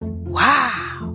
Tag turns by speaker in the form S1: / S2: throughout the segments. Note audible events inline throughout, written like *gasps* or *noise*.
S1: Wow.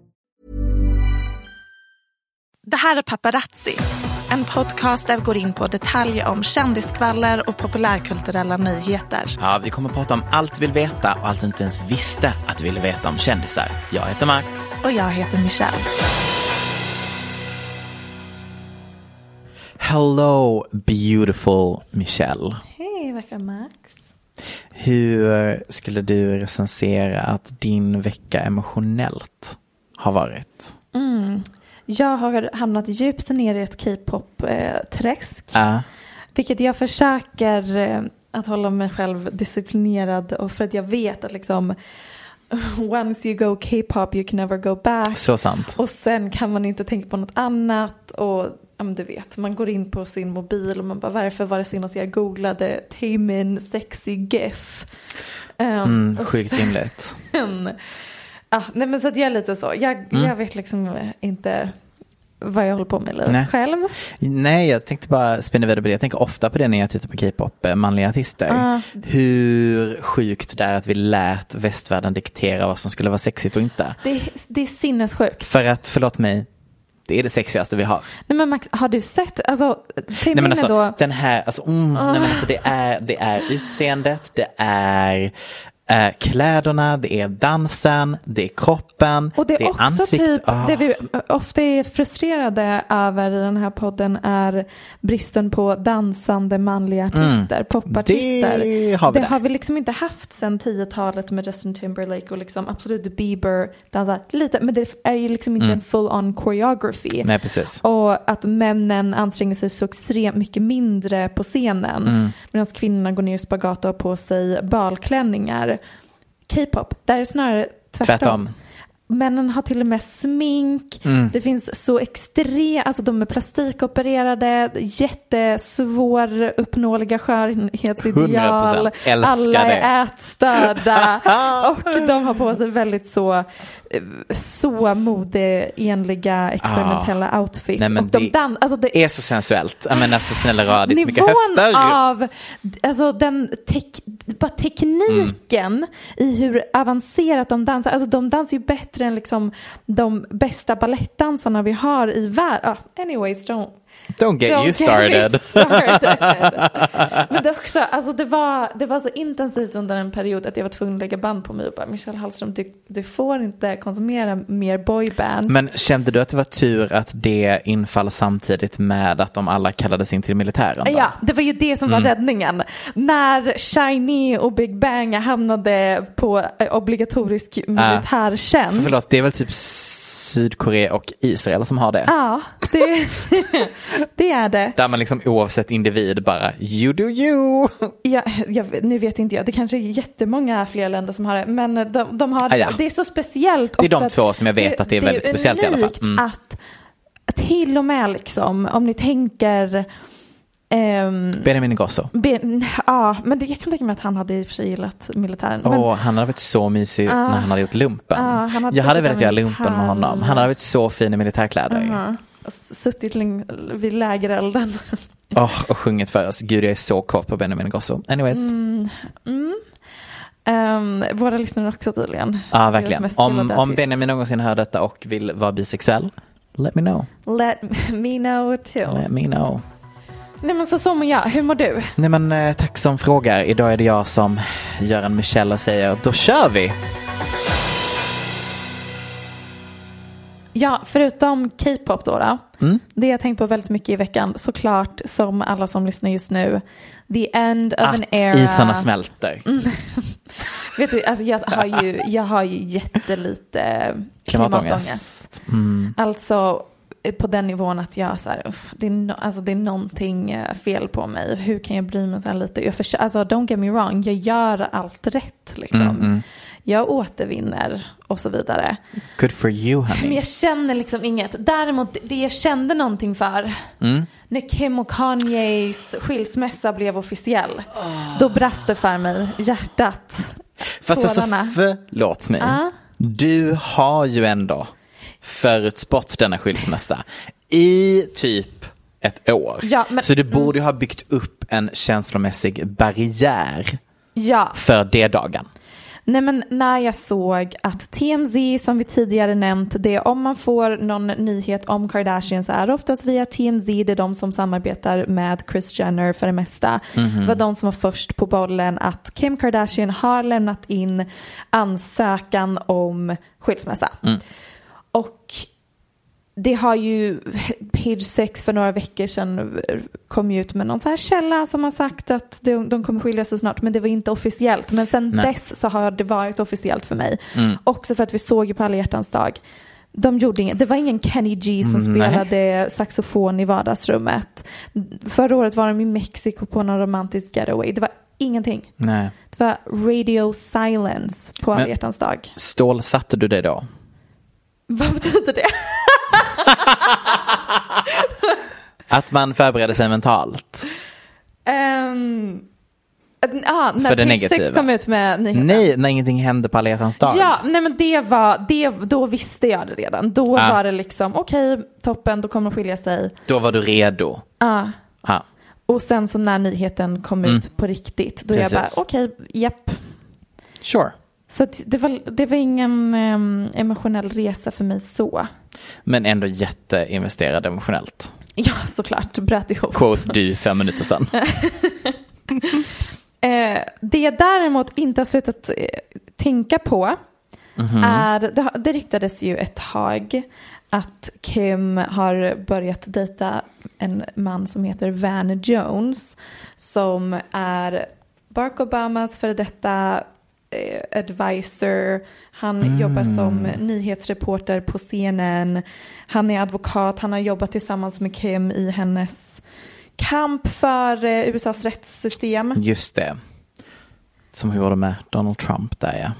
S2: Det här är Paparazzi. En podcast där vi går in på detaljer om kändisskvaller och populärkulturella nyheter.
S3: Ja, vi kommer att prata om allt du vill veta och allt du inte ens visste att du ville veta om kändisar. Jag heter Max.
S2: Och jag heter Michelle.
S3: Hello beautiful Michelle.
S2: Hej vackra Max.
S3: Hur skulle du recensera att din vecka emotionellt har varit?
S2: Mm. Jag har hamnat djupt ner i ett K-pop-träsk.
S3: Äh.
S2: Vilket jag försöker eh, att hålla mig själv disciplinerad och för att jag vet att liksom *laughs* once you go K-pop you can never go back.
S3: Så sant.
S2: Och sen kan man inte tänka på något annat och ja, men du vet man går in på sin mobil och man bara varför var det senast jag googlade Taemin sexy GIF. Um,
S3: Mm,
S2: och
S3: sjukt
S2: sen-
S3: rimligt.
S2: en. Ah, nej men så att jag är lite så. Jag,
S3: Mm.
S2: jag vet liksom inte vad jag håller på med i livet
S3: Nej.
S2: själv.
S3: Nej, jag tänkte bara spinna vidare på det. Jag tänker ofta på det när jag tittar på K-pop, eh, manliga artister.
S2: Ja.
S3: Hur sjukt det är att vi lät västvärlden diktera vad som skulle vara sexigt och inte.
S2: Det, är- det är sinnessjukt.
S3: För att, förlåt mig, det är det sexigaste vi har.
S2: Nej men Max, har du sett, alltså, Tim
S3: Nej men
S2: alltså,
S3: alltså,
S2: då,
S3: den här, alltså, mm, nej, men alltså det, är, det är utseendet, det är eh, kläderna, det är dansen, det är kroppen,
S2: och det är, också
S3: ansikt-
S2: typ,
S3: ah.
S2: det vi ofta är frustrerade över i den här podden är bristen på dansande manliga artister, popartister.
S3: Mm. Det har vi
S2: det
S3: där.
S2: har vi liksom inte haft sen 10-talet med Justin Timberlake och liksom absolut Bieber dansar lite, men det är ju liksom inte en full on choreography.
S3: Mm. Nej precis.
S2: Och att männen anstränger sig så extremt mycket mindre på scenen.
S3: Mm.
S2: Medan kvinnorna går ner i spagat och har på sig balklänningar. K-pop, där är det snarare tvärtom.
S3: Tvärtom.
S2: Männen har till och med smink.
S3: Mm.
S2: Det finns så extremt, alltså de är plastikopererade, jättesvåruppnåeliga skönhetsideal.
S3: 100%. Älskar
S2: Alla är
S3: *laughs*
S2: ätstörda. och de har på sig väldigt så, eh, så modeenliga experimentella outfits.
S3: Ah. Nej, men
S2: och de
S3: det
S2: dan- alltså det
S3: Det är så sensuellt. Ja, men alltså snälla rara, det är så mycket
S2: Nivån
S3: höfter.
S2: av alltså, den tek, bara tekniken i hur avancerat de dansar. Alltså, de dansar ju bättre än liksom, de bästa balettdansarna vi har i världen. Ah, anyways, don't,
S3: Don't get
S2: don't Get
S3: you
S2: me
S3: started.
S2: *laughs* started. Men det, är också, alltså, det, var, det var så intensivt under en period att jag var tvungen att lägga band på mig och bara Michelle Hallström, du, du får inte konsumera mer boyband.
S3: Men kände du att det var tur att det infall samtidigt med att de alla kallades in till militären? då?
S2: Ja, det var ju det som
S3: Mm.
S2: var räddningen. När Shiny och Big Bang hamnade på eh, obligatorisk militärtjänst.
S3: Ah. Förlåt, det är väl typ Sydkorea och Israel som har det?
S2: Ja, det, *laughs* det är det.
S3: Där man liksom oavsett individ bara you do you.
S2: Ja, jag, nu vet inte jag, det kanske är jättemånga fler länder som har det. Men de, de har det.
S3: Ah, ja.
S2: Det är så speciellt.
S3: Det är de
S2: också att
S3: två som jag vet att det är väldigt Mm. speciellt i alla fall.
S2: unikt att till och med liksom, om ni tänker Ehm,
S3: Benjamin Ingrosso.
S2: ben, ja, men det, jag kan tänka mig att han hade i och för sig gillat militären. Men,
S3: och han hade varit så mysig när han hade gjort lumpen.
S2: Ah, han hade
S3: jag hade
S2: suttit
S3: velat
S2: där
S3: göra
S2: med
S3: lumpen med
S2: militär-
S3: honom. Han hade varit så fin i militärkläder.
S2: ja, suttit ling, vid lägerelden.
S3: Åh, och sjungit för oss. Gud, jag är så kort på Benjamin Ingrosso. Anyways.
S2: Mm. Ehm, våra lyssnare också tydligen.
S3: Ja,
S2: Deras
S3: verkligen.
S2: mest
S3: Om,
S2: gillade
S3: om
S2: artist.
S3: Benjamin någonsin hör detta och vill vara bisexuell, let me know.
S2: Let me know too.
S3: Let me know.
S2: Nej men så så mår jag. Hur mår du?
S3: Nej men eh, tack som frågar. Idag är det jag som gör en Michelle och säger då kör vi!
S2: Ja, förutom K-pop då, då
S3: Mm.
S2: det jag tänkt på väldigt mycket i veckan, såklart som alla som lyssnar just nu, the end of an
S3: Att
S2: era.
S3: isarna smälter.
S2: Vet du, alltså jag har ju, jag har ju jättelite klimatångest.
S3: Klimatångest. Mm.
S2: Alltså eh, på den nivån att jag så här, uff, det, är no, alltså det är någonting eh, fel på mig. Hur kan jag bry mig så här lite? Jag försö- alltså don't get me wrong, jag gör allt rätt liksom.
S3: Mm,
S2: Jag återvinner och så vidare.
S3: Good for you
S2: Men
S3: honey.
S2: jag känner liksom inget. Däremot det jag kände någonting för.
S3: Mm.
S2: När Kim och Kanyes skilsmässa blev officiell. Då brast det för mig, hjärtat.
S3: Ah. Fast alltså
S2: tårarna.
S3: förlåt mig.
S2: Ja.
S3: Du har ju ändå förutspått denna skilsmässa i typ ett år.
S2: Ja, men- mm.
S3: Så du borde ju ha byggt upp en känslomässig barriär
S2: Ja,
S3: för D-dagen.
S2: nej men när jag såg att TMZ som vi tidigare nämnt, det är om man får någon nyhet om Kardashian så är det oftast via TMZ, det är de som samarbetar med Kris Jenner för det mesta. Det var de som var först på bollen att Kim Kardashian har lämnat in ansökan om skilsmässa. Och det har ju Page 6 för några veckor sedan kom ju ut med någon så här källa som har sagt att de, de kommer skilja sig snart men det var inte officiellt. Men sen dess så har det varit officiellt för mig. Också för att vi såg ju på alla hjärtans dag. De gjorde inget, det var ingen Kenny G som spelade saxofon i vardagsrummet. Förra året var de i Mexiko på någon romantisk getaway. Det var ingenting.
S3: Nej.
S2: Det var radio silence på alla
S3: Men-
S2: hjärtans dag.
S3: Stålsatte du dig då?
S2: Vad betyder det?
S3: Att man förbereder sig mentalt?
S2: Um, ah, när
S3: För det
S2: Page
S3: negativa.
S2: Six kom ut med nyheten.
S3: Nej, när ingenting hände på alla hjärtans dag.
S2: Ja, nej men det var, det, då visste jag det redan. Då
S3: Ah.
S2: var det liksom, okej, toppen, då kommer de skilja sig.
S3: Då var du redo.
S2: Ah.
S3: Ja.
S2: Och sen så när nyheten kom ut på riktigt, då jag bara,
S3: Mm. Precis.
S2: okej, japp.
S3: Sure.
S2: Så att det var, det var ingen em, emotionell resa för mig så.
S3: Men ändå jätteinvesterad emotionellt.
S2: Ja, såklart, bröt ihop.
S3: Quote du fem minuter sedan.
S2: Eh, det jag däremot inte har slutat eh, tänka på är, det, har- det ryktades ju ett tag att Kim har börjat dejta en man som heter Van Jones som är Barack Obamas före detta eh, advisor. Han jobbar som nyhetsreporter på CNN. Han är advokat. Han har jobbat tillsammans med Kim i hennes kamp för eh, USAs rättssystem.
S3: Just det. Som hon gjorde med Donald Trump där ja.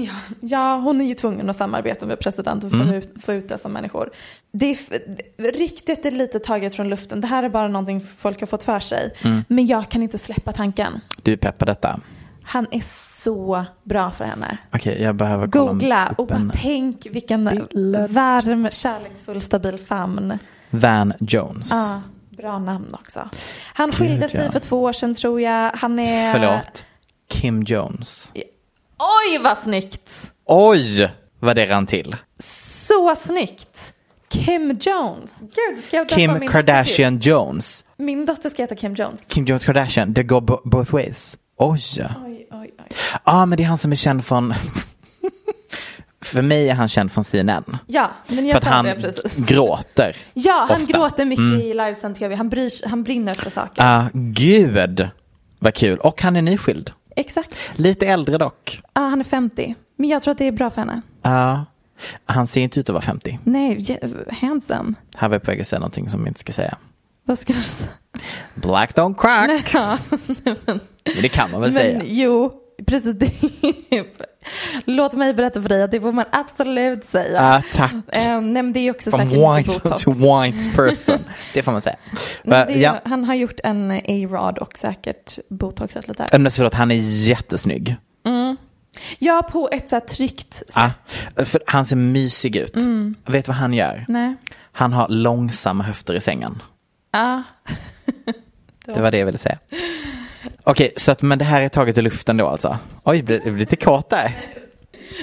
S2: Ja, ja, hon är ju tvungen att samarbeta med presidenten för att
S3: Mm.
S2: ut- få ut dessa människor. Det är, f- det- ryktet är lite taget från luften. Det här är bara någonting folk har fått för sig.
S3: Mm.
S2: Men jag kan inte släppa tanken.
S3: Du peppar detta.
S2: Han är så bra för henne.
S3: Okej, jag behöver kolla
S2: Googla
S3: upp
S2: och bara
S3: en-
S2: tänk vilken
S3: bild.
S2: varm, kärleksfull, stabil famn.
S3: Van Jones.
S2: Ja, bra namn också. Han skilde
S3: Gud,
S2: sig
S3: ja.
S2: för två år sedan tror jag. Han är...
S3: Förlåt. Kim Jones.
S2: Oj vad snyggt!
S3: Oj, vad det rann till.
S2: Så snyggt! Kim Jones. Gud, ska jag döpa min
S3: Kim
S2: dotter till?
S3: Kardashian Jones.
S2: Min dotter ska heta Kim Jones.
S3: Kim Jones Kardashian, det går bo- both ways. Oj.
S2: Oj, oj, oj.
S3: Ja, men det är han som är känd från... *laughs* För mig är han känd från CNN.
S2: Ja, men
S3: för
S2: jag
S3: att
S2: sa
S3: han
S2: det precis.
S3: gråter.
S2: Ja, han
S3: ofta. Mm.
S2: gråter mycket i livesänd tv. Han, bryr, sig- han brinner för saker.
S3: Ah, gud vad kul. Och han är nyskild.
S2: Exakt.
S3: Lite äldre dock.
S2: Ja, han är 50. Men jag tror att det är bra för henne.
S3: Ja. han ser inte ut att vara 50.
S2: Nej, je- handsome.
S3: Här var jag på väg att säga någonting som jag inte ska säga.
S2: Vad ska du säga?
S3: Black don't
S2: *laughs*
S3: crack.
S2: Ja,
S3: Men det kan man väl
S2: men
S3: säga.
S2: jo, Precis. *laughs* det- Låt mig berätta för dig att det får man absolut säga.
S3: Ah, tack.
S2: Eh, nej, men det är också
S3: From
S2: säkert
S3: white
S2: lite botox.
S3: to white person.
S2: *laughs*
S3: Det får man säga.
S2: Men
S3: Men,
S2: det är,
S3: ja.
S2: Han har gjort en A-rad och säkert botoxat lite där.
S3: Men alltså, förlåt, han är jättesnygg.
S2: Ja, på ett så här tryggt sätt.
S3: Ah, för han ser mysig ut.
S2: Mm.
S3: Vet du vad han gör?
S2: Nej.
S3: Han har långsamma höfter i sängen.
S2: Ah.
S3: Det var det jag ville säga. Okej, så att, men det här är taget ur luften då alltså? Oj, jag blev, jag blev lite kåt där.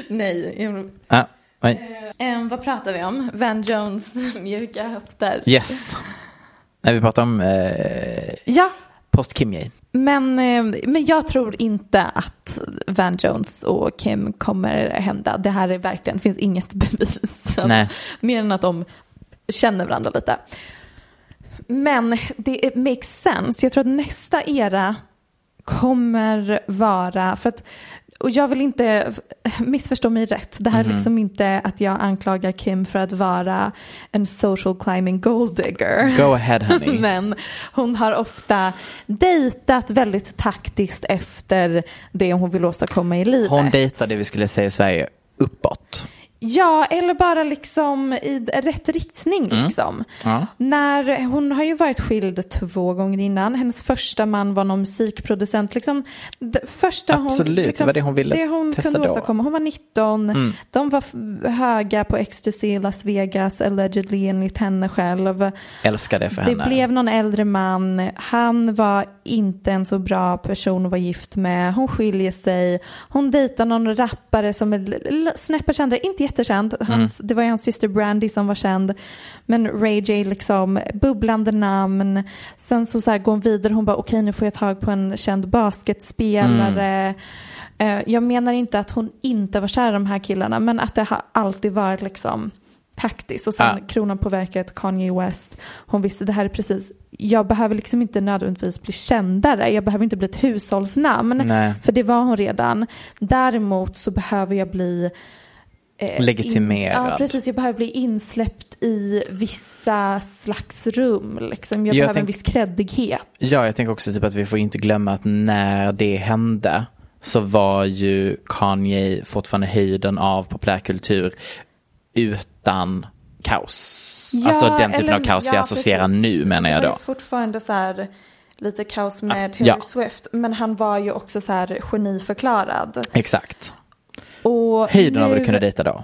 S2: Nej. jag-
S3: Ah, nej.
S2: Ehm, vad pratar vi om? Van Jones *laughs* mjuka höfter.
S3: Yes. Nej, vi pratar om eh,
S2: Ja,
S3: post Kimye.
S2: men, eh, men jag tror inte att Van Jones och Kim kommer hända. Det här är verkligen, finns inget bevis. Alltså,
S3: Nej.
S2: *laughs* Mer än att de känner varandra lite. Men det makes sense. Jag tror att nästa era kommer vara, för att, och jag vill inte missförstå mig rätt. Det här är liksom inte att jag anklagar Kim för att vara en social climbing gold digger.
S3: Go ahead
S2: *laughs*
S3: honey.
S2: Men hon har ofta dejtat väldigt taktiskt efter det hon vill åstadkomma i livet.
S3: Hon dejtar det vi skulle säga i Sverige, uppåt.
S2: Ja, eller bara liksom i d- rätt riktning.
S3: Mm.
S2: Liksom. När, hon har ju varit skild två gånger innan. Hennes första man var någon musikproducent. Liksom, d- första hon,
S3: Absolut, det
S2: liksom,
S3: var det hon ville
S2: det hon
S3: testa
S2: kunde
S3: då. Mm.
S2: åstadkomma. Hon var 19, de var f- höga på ecstasy i Las Vegas, allegedly enligt henne själv.
S3: Älskar det för
S2: Det
S3: henne.
S2: blev någon äldre man, han var inte en så bra person att vara gift med, hon skiljer sig, hon dejtar någon rappare som är l- l- snäppet kändare, inte jättekänd,
S3: Mm.
S2: hans, det var ju hans syster Brandy som var känd, men Ray J liksom, bubblande namn, sen så, så här går hon vidare, hon bara okej nu får jag tag på en känd basketspelare, Eh, jag menar inte att hon inte var kär i de här killarna, men att det har alltid varit liksom taktiskt. Och sen
S3: Ah.
S2: kronan på verket, Kanye West. Hon visste det här är precis, jag behöver liksom inte nödvändigtvis bli kändare. Jag behöver inte bli ett hushållsnamn.
S3: Nej.
S2: För det var hon redan. Däremot så behöver jag bli eh,
S3: Legitimerad.
S2: In, ja, precis. Jag behöver bli insläppt i vissa slags rum. Liksom. Jag,
S3: Jag
S2: behöver en
S3: tänk-
S2: viss kreddighet.
S3: Ja, jag tänker också typ att vi får inte glömma att när det hände så var ju Kanye fortfarande höjden av populärkultur utan kaos.
S2: Ja,
S3: alltså den typen
S2: eller-
S3: av kaos vi
S2: ja,
S3: associerar
S2: precis.
S3: nu menar jag
S2: Det var
S3: då.
S2: ju fortfarande så här lite kaos med
S3: Ah,
S2: Taylor
S3: ja.
S2: Swift. Men han var ju också så här geniförklarad.
S3: Exakt.
S2: Och
S3: Höjden av vad
S2: nu-
S3: du kunde dejta då.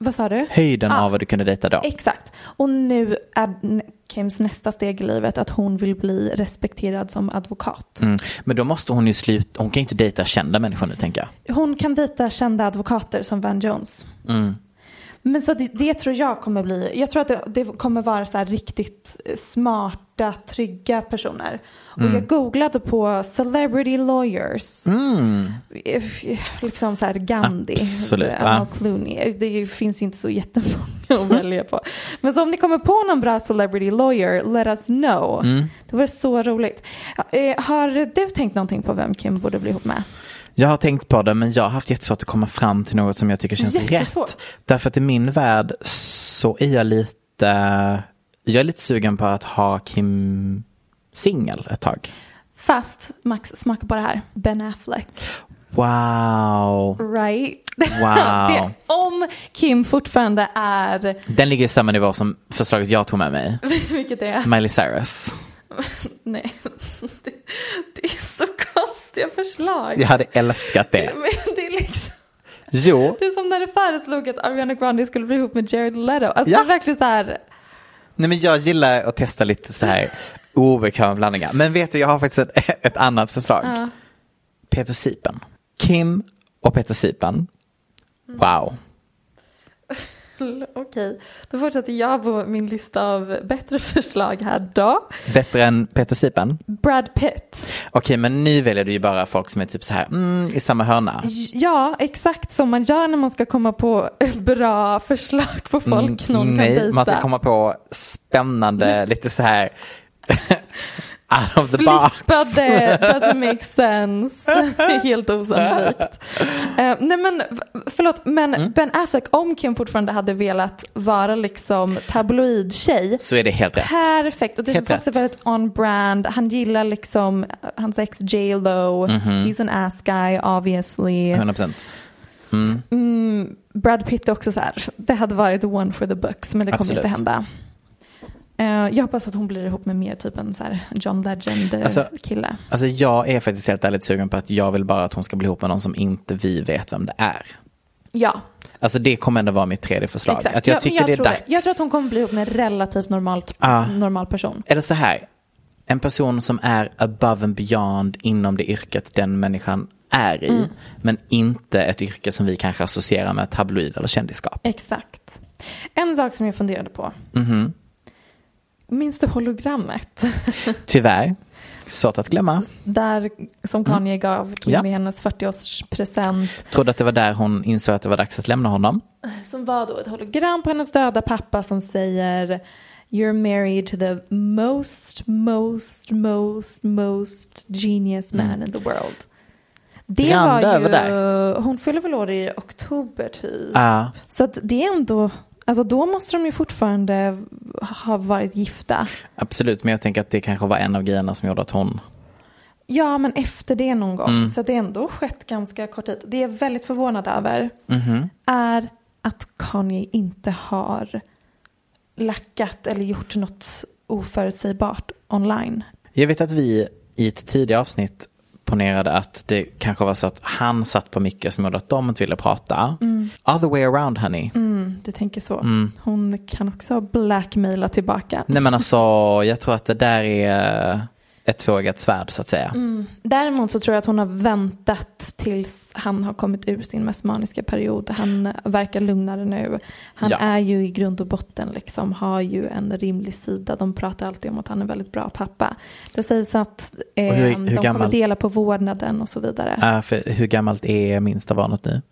S2: Vad sa du?
S3: Höjden
S2: Ja.
S3: av vad du kunde dejta då.
S2: Exakt. Och nu är n- Kims nästa steg i livet att hon vill bli respekterad som advokat.
S3: Mm. Men då måste hon ju sluta, hon kan ju inte dejta kända människor nu tänker jag.
S2: Hon kan dejta kända advokater som Van Jones.
S3: Mm.
S2: Men så det, det tror jag kommer bli, jag tror att det, det kommer vara så här riktigt eh, smarta, trygga personer.
S3: Mm.
S2: Och jag googlade på celebrity lawyers. Eh, Liksom så här Gandhi,
S3: Mm. Absolut,
S2: Amal
S3: ja.
S2: Clooney. Det finns ju inte så jättemånga att välja på. Men så om ni kommer på någon bra celebrity lawyer, let us know.
S3: Mm.
S2: Det var så roligt. Eh, Har du tänkt någonting på vem Kim borde bli ihop med?
S3: Jag har tänkt på det men jag har haft jättesvårt att komma fram till något som jag tycker känns
S2: Jättesvårt.
S3: rätt. Därför att i min värld så är jag lite, jag är lite sugen på att ha Kim singel ett tag.
S2: Fast Max, smaka på det här. Ben Affleck.
S3: Wow.
S2: Right? *laughs*
S3: Wow.
S2: det, om Kim fortfarande är,
S3: Den ligger i samma nivå som förslaget jag tog med mig.
S2: vilket det är,
S3: Miley Cyrus.
S2: nej. Det, det är så konstiga förslag.
S3: Jag hade älskat det.
S2: Men det är liksom
S3: Jo,
S2: det är som när det föreslog att Ariana Grande skulle bli ihop med Jared Leto. Alltså
S3: Ja.
S2: det är verkligen så här,
S3: Nej men jag gillar att testa lite så här obekväma blandningar. Men vet du, jag har faktiskt ett, ett annat förslag. Peter Sipen. Kim och Peter Sipen. Wow.
S2: okej. Då fortsätter jag på min lista av bättre förslag här då.
S3: Bättre än Peter Sipen.
S2: Brad Pitt.
S3: Okej, men nu väljer du ju bara folk som är typ så här mm, i samma hörna.
S2: Ja, exakt som man gör när man ska komma på *laughs* bra förslag på folk någon
S3: Mm, Nej,
S2: kan dejta.
S3: man ska komma på spännande, lite så här *laughs* out of the box.
S2: Flippade doesn't make
S3: *laughs*
S2: sense. *laughs* Helt osannolikt. Eh, nej men v- förlåt men
S3: Mm.
S2: Ben Affleck om Kim fortfarande hade velat vara liksom tabloidtjej.
S3: Så är det helt rätt.
S2: Perfekt och det
S3: Helt
S2: känns också
S3: rätt.
S2: väldigt on brand. Han gillar liksom eh, hans ex J Lo.
S3: Mhm.
S2: He's an ass guy obviously.
S3: 100%.
S2: Brad Pitt är också så här. Det hade varit one for the books men det kommer
S3: Absolut.
S2: inte hända. Eh, jag hoppas att hon blir ihop med mer typ en så här John Legend eh,
S3: Alltså,
S2: kille.
S3: Alltså jag är faktiskt helt ärligt sugen på att jag vill bara att hon ska bli ihop med någon som inte vi vet vem det är.
S2: Ja,
S3: Alltså det kommer ändå vara mitt tredje förslag.
S2: exakt.
S3: Att jag
S2: Ja,
S3: tycker
S2: men
S3: det är
S2: tror
S3: dags. Ah.
S2: Jag tror att hon kommer bli ihop med en relativt normalt, normal person.
S3: Eller så här. En person som är above and beyond inom det yrket den människan är i. Men inte ett yrke som vi kanske associerar med tabloid eller kändisskap.
S2: Exakt. En sak som jag funderade på.
S3: Mhm.
S2: Minns du hologrammet? *laughs*
S3: Tyvärr. Svårt att glömma.
S2: Där som Kanye gav Kim
S3: Mm. Ja.
S2: i hennes 40-årspresent.
S3: Trodde att det var där hon insåg att det var dags att lämna honom.
S2: Som var då ett hologram på hennes döda pappa som säger You're married to the most, most, most, most genius man
S3: Mm.
S2: in the world. Det
S3: Rand
S2: var ju,
S3: över där. Ah.
S2: hon fyller väl år i oktober typ.
S3: Ja.
S2: Så att det är ändå, alltså då måste de ju fortfarande ha varit gifta.
S3: absolut, men jag tänker att det kanske var en av grejerna som gjorde att hon...
S2: Ja men efter det någon gång. Så att det ändå skett ganska kort tid. Det jag är väldigt förvånad över är att Kanye inte har lackat eller gjort något oförutsägbart online.
S3: Jag vet att vi i ett tidigare avsnitt ponerade att det kanske var så att han satt på mycket som gjorde att de inte ville prata. Other way around honey.
S2: Du tänker så. Hon kan också blackmaila tillbaka.
S3: Nej men alltså, jag tror att det där är ett tvåeggat svärd så att säga.
S2: Mm. Däremot så tror jag att hon har väntat tills han har kommit ur sin mest maniska period. Han verkar lugnare nu. Han
S3: Ja.
S2: är ju i grund och botten liksom, har ju en rimlig sida. De pratar alltid om att han är en väldigt bra pappa. Det sägs att eh,
S3: Och hur- hur
S2: de kommer
S3: gammal?
S2: dela på vårdnaden och så vidare.
S3: Äh, för hur gammalt är minsta barnet nu?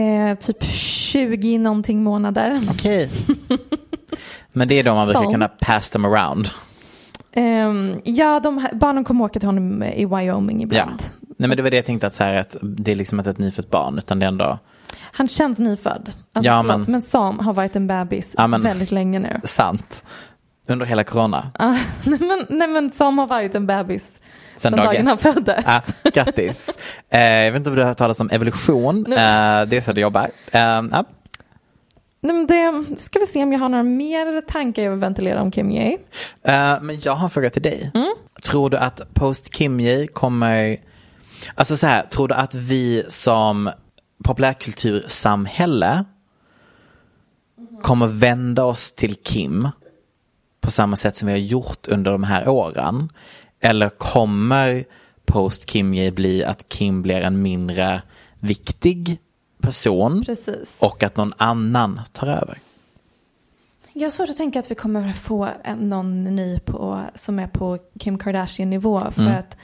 S2: Eh, typ 20 någonting månader.
S3: Okej. *laughs* men det är då man brukar
S2: Så.
S3: kunna pass them around.
S2: Ehm, ja, de här, barnen kommer åka till honom i Wyoming
S3: Ja.
S2: ibland.
S3: Nej men det var det jag tänkte att, så här, att det är liksom inte ett nyfött barn utan det är ändå
S2: Han känns nyfödd. Alltså,
S3: Ja,
S2: förlåt, men...
S3: men-
S2: Sam har varit en bebis
S3: Ja, men-
S2: väldigt länge nu.
S3: sant. Under hela corona.
S2: Ah, *laughs* nej, men, nej men Sam har varit en bebis
S3: Sen
S2: sen
S3: dag
S2: dagen
S3: ett.
S2: han föddes.
S3: Ah,
S2: *laughs*
S3: grattis. Eh, jag vet inte om du har hört talas om evolution. Eh, det är så det jobbar. Eh, ja.
S2: Nej, men det, ska vi se om jag har några mer tankar jag vill ventilera om Kim Ye.
S3: Eh, men jag har en fråga till dig.
S2: Mm.
S3: Tror du att post Kimji kommer... Alltså så här, tror du att vi som populärkultursamhälle kommer vända oss till Kim på samma sätt som vi har gjort under de här åren? Eller kommer post Kimji bli att Kim blir en mindre viktig person
S2: Precis.
S3: och att någon annan tar över?
S2: Jag har svårt att tänka att vi kommer få en- någon ny på, som är på Kim Kardashian-nivå för att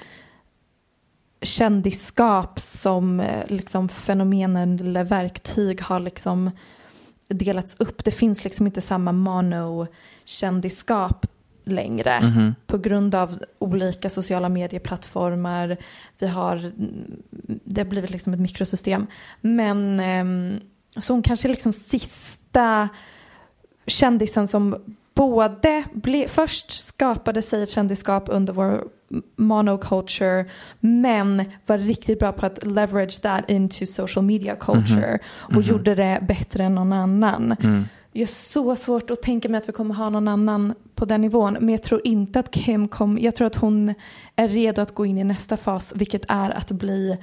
S2: kändisskap som eh, liksom, fenomen eller verktyg har liksom delats upp. Det finns liksom inte samma mono-kändisskap längre på grund av olika sociala medieplattformar. Vi har, det har blivit liksom ett mikrosystem. Men ehm, så hon kanske är liksom sista kändisen som både ble, först skapade sig ett kändisskap under vår monoculture men var riktigt bra på att leverage that into social media culture och gjorde det bättre än någon annan. Jag har så svårt att tänka mig att vi kommer ha någon annan på den nivån men jag tror inte att Kim kommer, jag tror att hon är redo att gå in i nästa fas vilket är att bli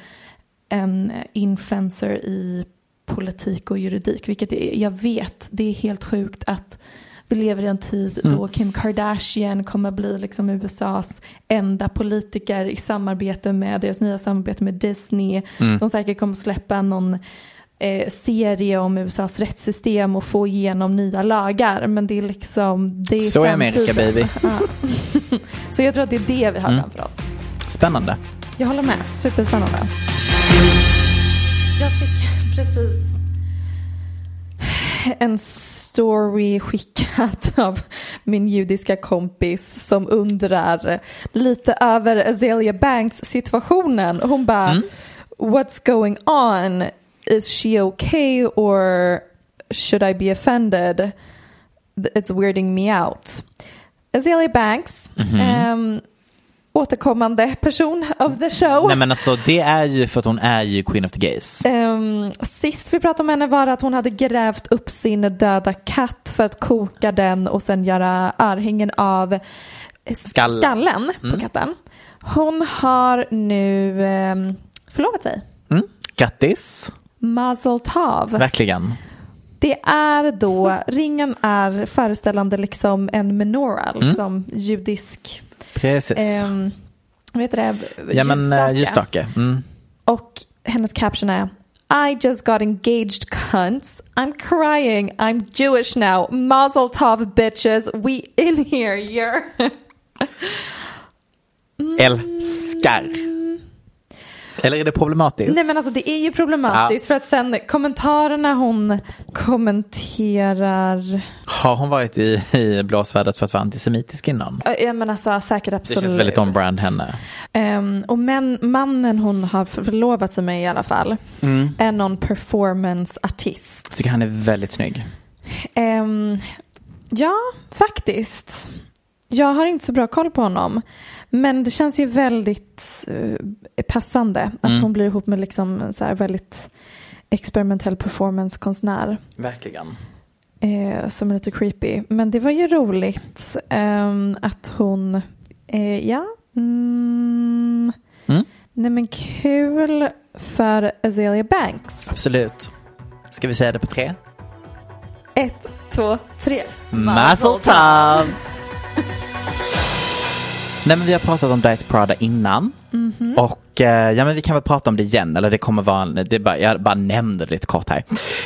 S2: en influencer i politik och juridik. Vilket är, jag vet, det är helt sjukt att vi lever i en tid
S3: Mm.
S2: då Kim Kardashian kommer bli liksom USAs enda politiker i samarbete med deras nya samarbete med Disney.
S3: Mm.
S2: De säkert kommer släppa någon eh, serie om USAs rättssystem och få igenom nya lagar. Men det är liksom... Det är
S3: Så är Amerika Mm.
S2: framtiden.
S3: baby.
S2: *laughs* Så jag tror att det är det vi har framför oss.
S3: Spännande.
S2: Jag håller med, superspännande. *laughs* Jag fick precis en s- story skickat *laughs* av min judiska kompis som undrar lite över Azalea Banks situationen. Hon bara,
S3: Mm.
S2: what's going on? Is she okay or should I be offended? It's weirding me out. Azalea Banks,
S3: Mhm.
S2: ehm, återkommande person of the show.
S3: Nej men alltså det är ju för att hon är ju Queen of the Gays.
S2: Ehm, sist vi pratade om henne var att hon hade grävt upp sin döda katt för att koka den och sen göra örhängen av s-
S3: Skallen. Mm.
S2: skallen på katten. Hon har nu um, förlovat sig.
S3: Mm. Grattis,
S2: Mazel tov.
S3: verkligen.
S2: Det är då, ringen är föreställande liksom en menorah,
S3: Mm.
S2: liksom judisk,
S3: Precis.
S2: um, vad heter det,
S3: ja men eh,
S2: ljusstake.
S3: ljusstake. Mm.
S2: Och hennes caption är I just got engaged cunts. I'm crying. I'm Jewish now. Mazel tov bitches. We in here. You're. Mm.
S3: Älskar. Eller är det problematiskt?
S2: Nej men alltså det är ju problematiskt för att sen kommentarerna hon kommenterar.
S3: Har hon varit i, i blåsvädret för att vara antisemitisk innan?
S2: Ö, Ja men alltså säkert
S3: Det
S2: absolut.
S3: känns väldigt on-brand henne.
S2: Ehm, och men, mannen hon har förlovat sig med i alla fall
S3: Mm.
S2: är någon performanceartist.
S3: Jag tycker han är väldigt snygg.
S2: Ehm, ja, faktiskt. Jag har inte så bra koll på honom. Men det känns ju väldigt eh, passande att
S3: Mm.
S2: hon blir ihop med liksom en så här väldigt experimentell performancekonstnär.
S3: Verkligen.
S2: Eh, som är lite creepy. Men det var ju roligt ehm, att hon, eh, ja. Mm.
S3: Mm.
S2: Nej men kul för Azalea Banks.
S3: Absolut. Ska vi säga det på tre?
S2: Ett, två, tre.
S3: Mazel tov! *laughs* Nej men vi har pratat om Diet Prada innan. Och eh, ja men vi kan väl prata om det igen, eller det kommer vara, en- det är bara, jag bara nämnde det lite kort här.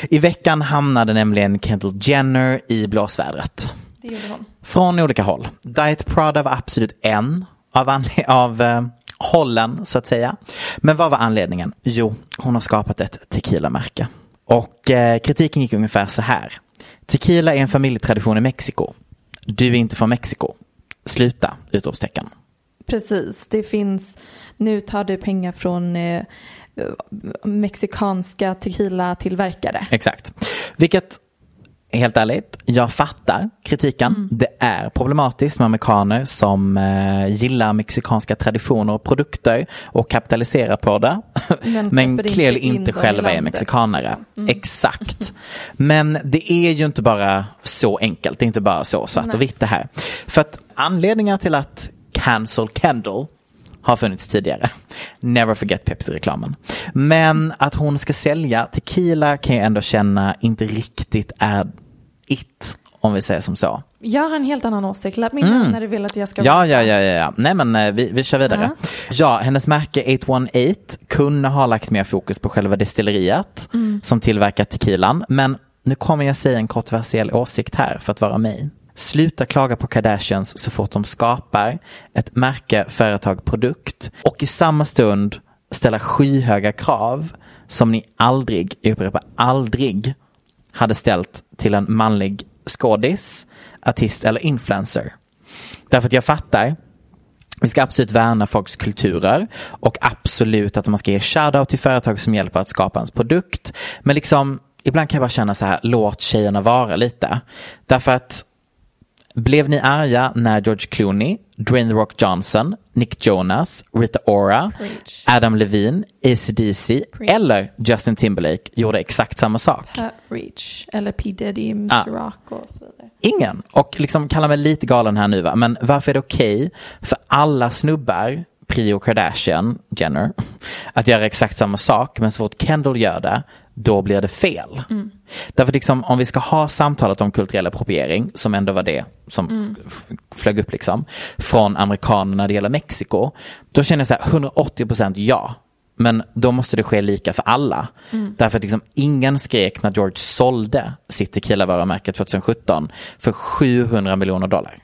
S3: I veckan hamnade nämligen Kendall Jenner i blåsvädret.
S2: Det gjorde hon.
S3: Från olika håll. Diet Prada var absolut en av, anle- av eh, hållen så att säga. Men vad var anledningen? Jo, hon har skapat ett tequila-märke. Och eh, kritiken gick ungefär så här. Tequila är en familjetradition i Mexiko. Du är inte från Mexiko. Sluta! Utropstecken.
S2: Precis, det finns, nu tar du pengar från eh, mexikanska tequila-tillverkare.
S3: Exakt. Vilket, helt ärligt, jag fattar kritiken. Det är problematiskt med amerikaner som eh, gillar mexikanska traditioner och produkter och kapitaliserar på det.
S2: Men
S3: Men,
S2: släpper
S3: clearly
S2: inte in
S3: inte,
S2: dem i
S3: själva är
S2: landet. Mm.
S3: mexikanare. Exakt. Men det är ju inte bara så enkelt. Det är inte bara så svart och vitt det här. För att anledningar till att cancel Kendall har funnits tidigare. Never forget Pepsi-reklamen. Men att hon ska sälja tequila kan jag ändå känna inte riktigt är it. Om vi säger som så.
S2: Jag har en helt annan åsikt, lägg min när du vill att jag ska
S3: Mm. Ja, ja, ja, ja, ja. Nej men eh, vi, vi kör vidare. Ja, hennes märke 818 kunde ha lagt mer fokus på själva destilleriet
S2: Mm.
S3: som tillverkar tequilan. Men nu kommer jag säga en kontroversiell åsikt här för att vara mig. Sluta klaga på Kardashians så fort de skapar ett märke, företag, produkt och i samma stund ställa skyhöga krav som ni aldrig, jag upprepar aldrig, hade ställt till en manlig skådis, artist eller influencer. Därför att jag fattar. Vi ska absolut värna folks kulturer och absolut att man ska ge shoutout till företag som hjälper att skapa ens produkt. Men liksom, ibland kan jag bara känna så här, låt tjejerna vara lite. Därför att blev ni arga när George Clooney, Dwayne The Rock Johnson, Nick Jonas, Rita Ora,
S2: Preach.
S3: Adam Levine, AC/DC
S2: Preach.
S3: eller Justin Timberlake gjorde exakt samma sak?
S2: Uh, Reach, eller P Diddy, Mr
S3: Ah.
S2: Rock och så vidare.
S3: Ingen. Och liksom kalla mig lite galen här nu va. Men varför är det okej för alla snubbar, Prio Kardashian, Jenner, *laughs* att göra exakt samma sak. Men så fort Kendall gör det, då blir det fel. Därför liksom om vi ska ha samtalet om kulturell appropriering, som ändå var det som f- flög upp liksom, från amerikanerna när det gäller Mexiko. Då känner jag så här 180% ja. Men då måste det ske lika för alla. Därför att liksom ingen skrek när George sålde sitt tequilavarumärke 2017 för 700 miljoner dollar.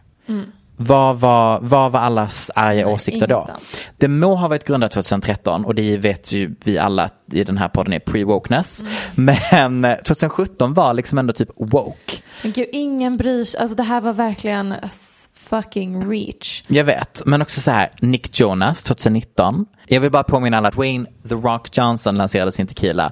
S3: Vad var, vad var allas arga åsikter då?
S2: ingenstans.
S3: Det må ha varit grundat 2013 och det vet ju vi alla att i den här podden är pre-wokeness. Men eh, 2017 var liksom ändå typ woke.
S2: Men gud, ingen bryr sig. Alltså det här var verkligen s- fucking reach.
S3: Jag vet, men också så här, Nick Jonas 2019. Jag vill bara påminna alla att Wayne The Rock Johnson lanserade sin tequila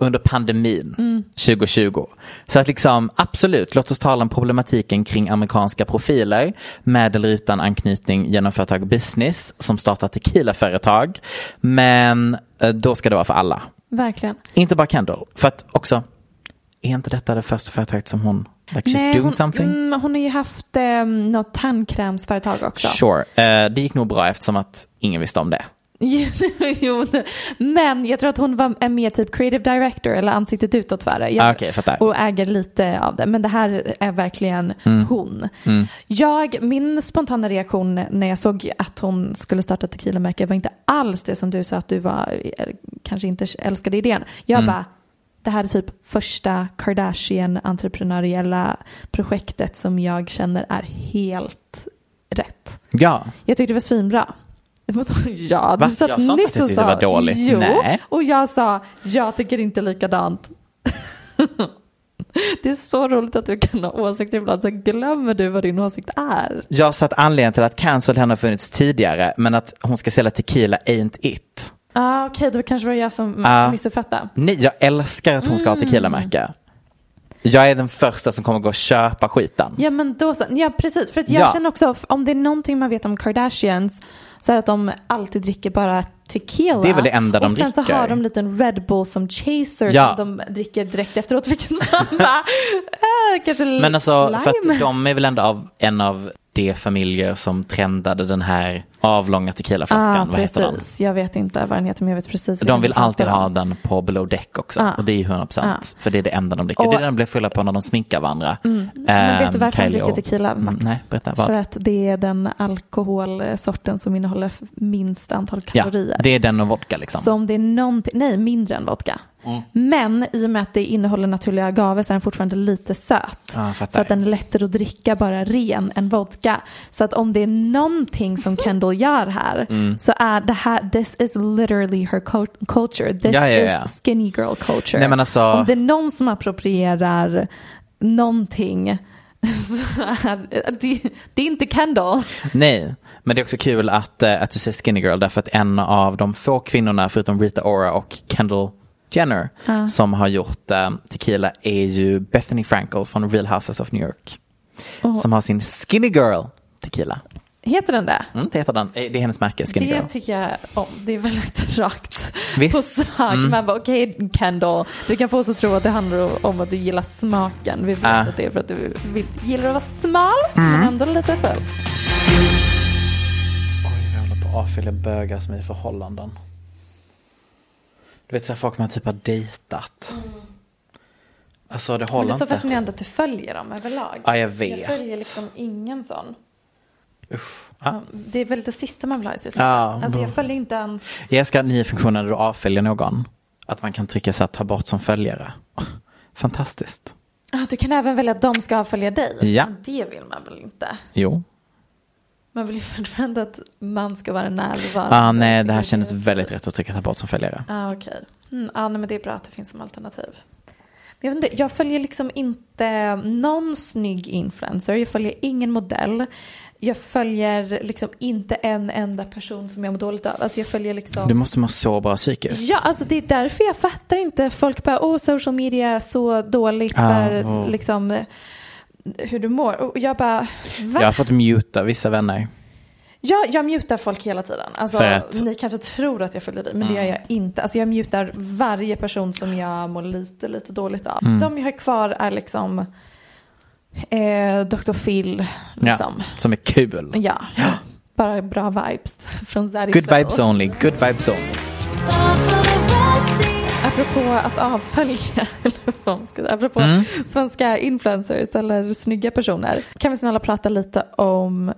S3: under pandemin 2020. Så att liksom, absolut, låt oss tala om problematiken kring amerikanska profiler med eller utan anknytning genom företag och business som startar tequilaföretag. Men eh, då ska det vara för alla.
S2: Verkligen.
S3: Inte bara Kendall, för att också, är inte detta det första företaget som hon, like she's doing
S2: hon,
S3: something?
S2: mm, hon har ju haft eh, något tandkrämsföretag också.
S3: Sure, eh, det gick nog bra eftersom att ingen visste om det.
S2: *laughs* jo, men jag tror att hon var en mer typ creative director eller ansiktet utåt för det.
S3: Ah,
S2: Jag,
S3: okej, fattar.
S2: och äger lite av det. Men det här är verkligen
S3: Mm.
S2: hon. Jag, min spontana reaktion när jag såg att hon skulle starta ett tequilamärke var inte alls det som du sa att du var, eh, kanske inte älskade idén. Jag
S3: Mm.
S2: bara, det här är typ första Kardashian-entreprenöriella projektet som jag känner är helt rätt.
S3: Ja,
S2: Jag tyckte det var svinbra. *laughs* Ja, du
S3: Va?
S2: satt
S3: Jag sa inte att
S2: nyss
S3: jag
S2: och
S3: tyckte det
S2: sa-
S3: var dåligt.
S2: Jo,
S3: Nej.
S2: och jag sa jag tycker inte likadant. *laughs* det är så roligt att du kan ha åsikter ibland så glömmer du vad din åsikt är.
S3: jag sa att anledningen till att cancel henne har funnits tidigare men att hon ska sälja tequila ain't it.
S2: Ah, Okej, då kanske det var jag som
S3: Ah.
S2: missuppfattade.
S3: Nej, jag älskar att hon ska ha
S2: Mm.
S3: tequila-märke. Jag är den första som kommer gå och köpa skiten.
S2: Ja men då så. Ja precis. För att jag
S3: Ja.
S2: känner också om det är någonting man vet om Kardashians så är det att de alltid dricker bara tequila.
S3: Det är väl det enda de
S2: Och sen så
S3: dricker.
S2: har de en liten Red Bull som chaser
S3: Ja.
S2: som de dricker direkt efteråt. Vilket man bara, äh, kanske
S3: Men alltså,
S2: lime.
S3: för att de är väl ändå av, en av de familjer som trendade den här avlånga tequilaflaskan.
S2: ah,
S3: Vad heter den?
S2: precis. Jag vet inte vad den heter men jag vet precis.
S3: De vill
S2: vad den
S3: alltid
S2: heter.
S3: ha den på below deck också.
S2: Ja.
S3: Och det är ju 100%. För det är det enda de dricker.
S2: Ah. Och- Mm.
S3: det är det de blir fulla på när de sminkar varandra.
S2: Men vet du
S3: Ehm,
S2: varför de
S3: Kylie
S2: dricker
S3: och-
S2: tequila Max?
S3: Mm, nej, berätta. Vad?
S2: För att det är den alkoholsorten som innehåller minst antal
S3: Ja,
S2: kalorier.
S3: det är den och vodka liksom.
S2: Så om det är någonting, nej mindre än vodka.
S3: Mm.
S2: Men i och med att det innehåller naturliga agave så är den fortfarande lite söt.
S3: Ja, jag fattar.
S2: så att den är lättare att dricka bara ren än vodka. Så att om det är någonting som Kendall gör här
S3: *laughs* Mm.
S2: så är det här, this is literally her cul- culture. This
S3: Ja, ja, ja.
S2: is skinny girl culture.
S3: Nej, men alltså-
S2: Om det är någon som approprierar någonting *laughs* så är det, det är inte Kendall.
S3: Nej, men det är också kul att, eh, att du säger skinny girl därför att en av de få kvinnorna förutom Rita Ora och Kendall Jenner som har gjort eh, tequila är ju Bethany Frankel från Real Houses of New York. Som har sin skinny girl tequila.
S2: Heter den det?
S3: Mm, det heter den. Eh, Det är hennes märke, skinny
S2: det typ-
S3: girl.
S2: tycker jag om. Det är väldigt rakt
S3: Visst. Mm.
S2: på sak. Man bara okej Kendall, du kan få oss att tro att det handlar om att du gillar smaken. Vi vet
S3: Ah. Mm.
S2: att det är för att du vill, gillar att vara smal men ändå lite full.
S3: Oj, jag håller på att avfölja bögar som är i förhållanden. Du vet så här, folk man typ har dejtat. Alltså det
S2: Mm. Men
S3: håller
S2: det är så
S3: inte.
S2: fascinerande att du följer dem överlag.
S3: Ja, jag vet.
S2: Jag följer liksom ingen sån.
S3: Usch. Ah.
S2: Det är väl det sista man vill ha i sitt liv.
S3: Ja.
S2: Alltså jag följer inte ens.
S3: Jag älskar att funktionen när du avföljer någon. Att man kan trycka så att ta bort som följare. *laughs* Fantastiskt.
S2: Ah, Du kan även välja att de ska följa dig.
S3: Ja.
S2: Men Det vill man väl inte?
S3: Jo.
S2: Man vill ju fortfarande att man ska vara närvarande.
S3: Ah, nej, det här kändes väldigt rätt att trycka ta bort som följare.
S2: Ja, ah, okej. Mm, ah, nej, men det är bra att det finns som alternativ. Men jag, vet inte, jag följer liksom inte någon snygg influencer. Jag följer ingen modell. Jag följer liksom inte en enda person som jag mår dåligt av. Alltså jag följer liksom...
S3: Du måste må så bra psykiskt.
S2: Ja, alltså det är därför jag fattar inte. Folk bara, åh, social media är så dåligt för
S3: Ah, åh.
S2: liksom eh, hur du mår. Och jag bara, va?
S3: Jag har fått muta vissa vänner.
S2: Jag, jag mutar folk hela tiden. Alltså,
S3: För att-
S2: Ni kanske tror att jag följer dig men det
S3: Mm.
S2: gör jag inte. Alltså, jag mutar varje person som jag mår lite, lite dåligt av.
S3: Mm.
S2: De jag har kvar är liksom eh, Dr. Phil. Liksom.
S3: Ja, som är kul.
S2: Ja.
S3: *gasps*
S2: Bara bra vibes från Zari
S3: Good
S2: Phil.
S3: vibes only, good vibes only.
S2: Apropå att avfölja, *laughs* eller vad man ska säga, apropå
S3: Mm.
S2: svenska influencers eller snygga personer. Kan vi snälla prata lite om,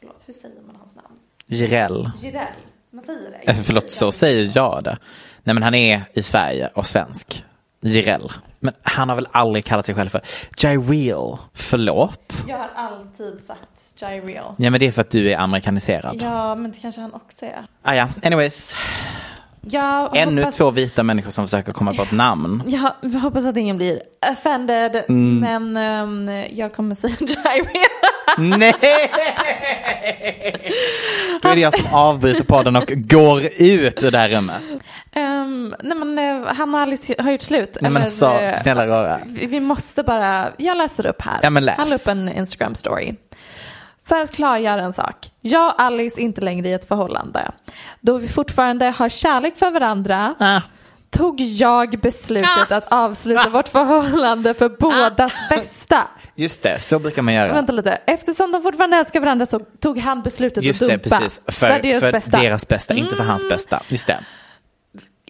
S2: förlåt hur säger man hans namn?
S3: Jireel. Eh,
S2: Jireel, man säger det.
S3: Alltså, förlåt, så säger jag det. Nej men han är i Sverige och svensk. Jireel. Men han har väl aldrig kallat sig själv för Jireel. Förlåt?
S2: Jag har alltid sagt Gyreal.
S3: Ja men det är för att du är amerikaniserad.
S2: Ja, men det kanske han också är.
S3: Ah, ja. anyways.
S2: Jag
S3: Ännu
S2: hoppas,
S3: två vita människor som försöker komma på ett namn.
S2: Ja, Jag hoppas att ingen blir offended,
S3: Mm.
S2: men ehm, jag kommer säga *laughs* Gyreal.
S3: Nej! Då är det jag som avbryter podden och går ut ur det här rummet.
S2: Ehm, nej men eh, han och Alice har gjort slut.
S3: Nej men
S2: Eller,
S3: så,
S2: eh,
S3: snälla röra.
S2: Vi vi måste bara, jag läser upp här.
S3: Ja, men läs.
S2: Han la upp en Instagram story. För att klargöra en sak. Jag och Alice är inte längre i ett förhållande. Då vi fortfarande har kärlek för varandra
S3: Ah.
S2: tog jag beslutet att avsluta vårt förhållande
S3: Ah.
S2: för bådas bästa.
S3: Just det, så brukar man göra.
S2: Vänta lite, eftersom de fortfarande älskar varandra så tog han beslutet
S3: Just
S2: att
S3: det,
S2: dumpa.
S3: precis. För, för deras bästa, inte för hans
S2: Mm.
S3: bästa. Just det.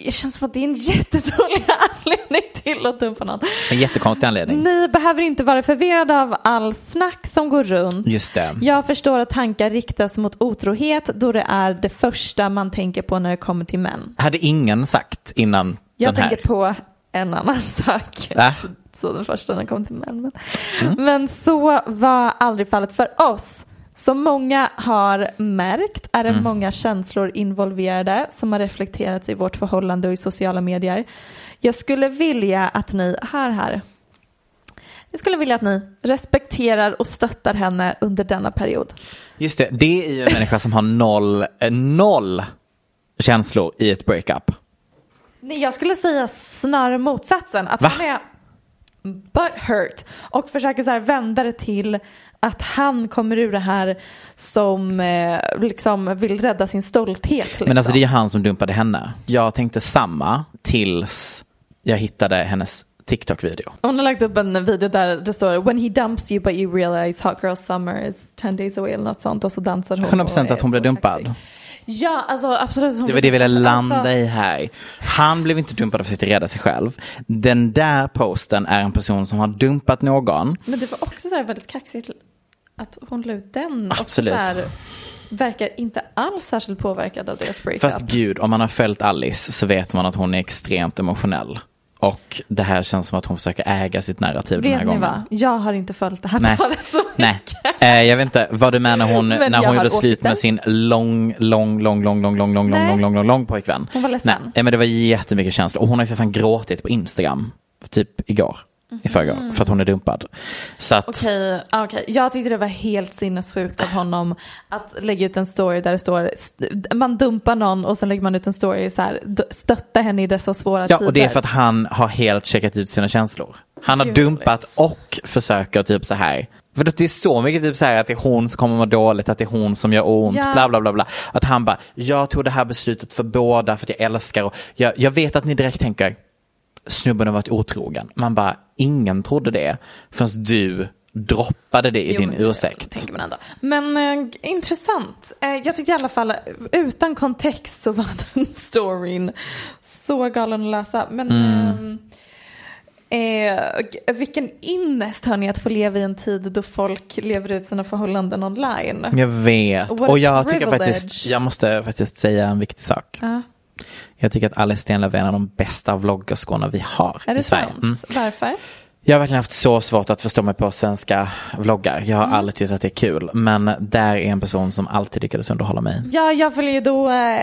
S2: Det känns som att det är en jättedålig *laughs* anledning till att dumpa någon.
S3: En jättekonstig anledning.
S2: Ni behöver inte vara förvirrade av all snack som går runt.
S3: Just det.
S2: Jag förstår att tankar riktas mot otrohet då det är det första man tänker på när det kommer till män.
S3: Hade ingen sagt innan
S2: Jag
S3: den här.
S2: tänker på en annan sak.
S3: Va?
S2: Så den första när det kom till män. Men så var aldrig fallet för oss. Som många har märkt är det många känslor involverade som har reflekterats i vårt förhållande och i sociala medier. Jag skulle vilja att ni, här här. Jag skulle vilja att ni respekterar och stöttar henne under denna period.
S3: Just det, det är ju en människa som har noll, eh, noll känslor i ett breakup.
S2: Nej, jag skulle säga snarare motsatsen. Att
S3: Va?
S2: han är butthurt och försöker så här vända det till att han kommer ur det här som eh, liksom vill rädda sin stolthet. Liksom.
S3: Men alltså det är ju han som dumpade henne. Jag tänkte samma tills jag hittade hennes TikTok-video.
S2: Hon har lagt upp en video där det står When he dumps you but you realize hot girl summer is 10 days away eller något sånt och så dansar hon.
S3: 100%
S2: och är
S3: att hon blev
S2: så
S3: dumpad.
S2: kaxig. Ja, alltså absolut. hon
S3: Det var
S2: blev
S3: det vi ville
S2: dumpad.
S3: landa
S2: Alltså,
S3: i här. Han blev inte dumpad för att försöka rädda sig själv. Den där posten är en person som har dumpat någon.
S2: Men det var också så här väldigt kaxigt att hon la ut den. och
S3: Absolut.
S2: Så här, verkar inte alls särskilt påverkad av deras breakup.
S3: Fast gud, om man har följt Alice så vet man att hon är extremt emotionell. Och det här känns som att hon försöker äga sitt narrativ den
S2: Vet
S3: här
S2: ni
S3: gången.
S2: vad? Jag har inte följt det här
S3: Nej.
S2: paret så
S3: Nej, eh, jag vet inte. Var du med när hon,
S2: Men
S3: när
S2: jag
S3: hon
S2: har
S3: gjorde slut med sin
S2: åsikten.
S3: lång, lång, lång, lång, lång, lång, lång, lång,
S2: Nej.
S3: lång, lång, lång, lång pojkvän?
S2: Hon var ledsen.
S3: Nej, eh, men det var jättemycket känslor. Och hon har ju för fan gråtit på Instagram, typ igår. I förrgår, för att hon är dumpad. Så att,
S2: Mm. Okej, ah, okej. jag tyckte det var helt sinnessjukt av honom att lägga ut en story där det står st- man dumpar någon och sen lägger man ut en story så här d- stötta henne i dessa svåra
S3: ja
S2: tider.
S3: och det är för att han har helt checkat ut sina känslor. Han har
S2: Gud,
S3: dumpat och försöker typ så här. För det är så mycket typ så här att det är hon som kommer må dåligt, att det är hon som gör ont,
S2: Ja.
S3: bla bla bla bla. Att han bara, jag tog det här beslutet för båda för att jag älskar och jag, jag vet att ni direkt tänker, snubben har varit otrogen. Man bara, ingen trodde det förrän du droppade det i
S2: Jo,
S3: din
S2: men det
S3: ursäkt.
S2: Tänker man ändå. Men eh, g- intressant. Eh, jag tyckte i alla fall eh, utan kontext så var *laughs* den storyn så galen att läsa. Men
S3: Mm.
S2: eh, eh, g- vilken innest hörni att få leva i en tid då folk lever ut sina förhållanden online.
S3: Jag vet.
S2: What a
S3: Och jag tycker
S2: privilege.
S3: faktiskt, jag måste faktiskt säga en viktig sak.
S2: Ja.
S3: Jag tycker att Alice Stenlöf är en av de bästa vloggerskorna vi har
S2: Är
S3: i
S2: det
S3: Sverige.
S2: sant?
S3: Mm.
S2: Varför?
S3: Jag har verkligen haft så svårt att förstå mig på svenska vloggar. Jag
S2: Mm.
S3: har aldrig tyckt att det är kul. Men där är en person som alltid lyckades underhålla mig.
S2: Ja, jag följer ju då eh,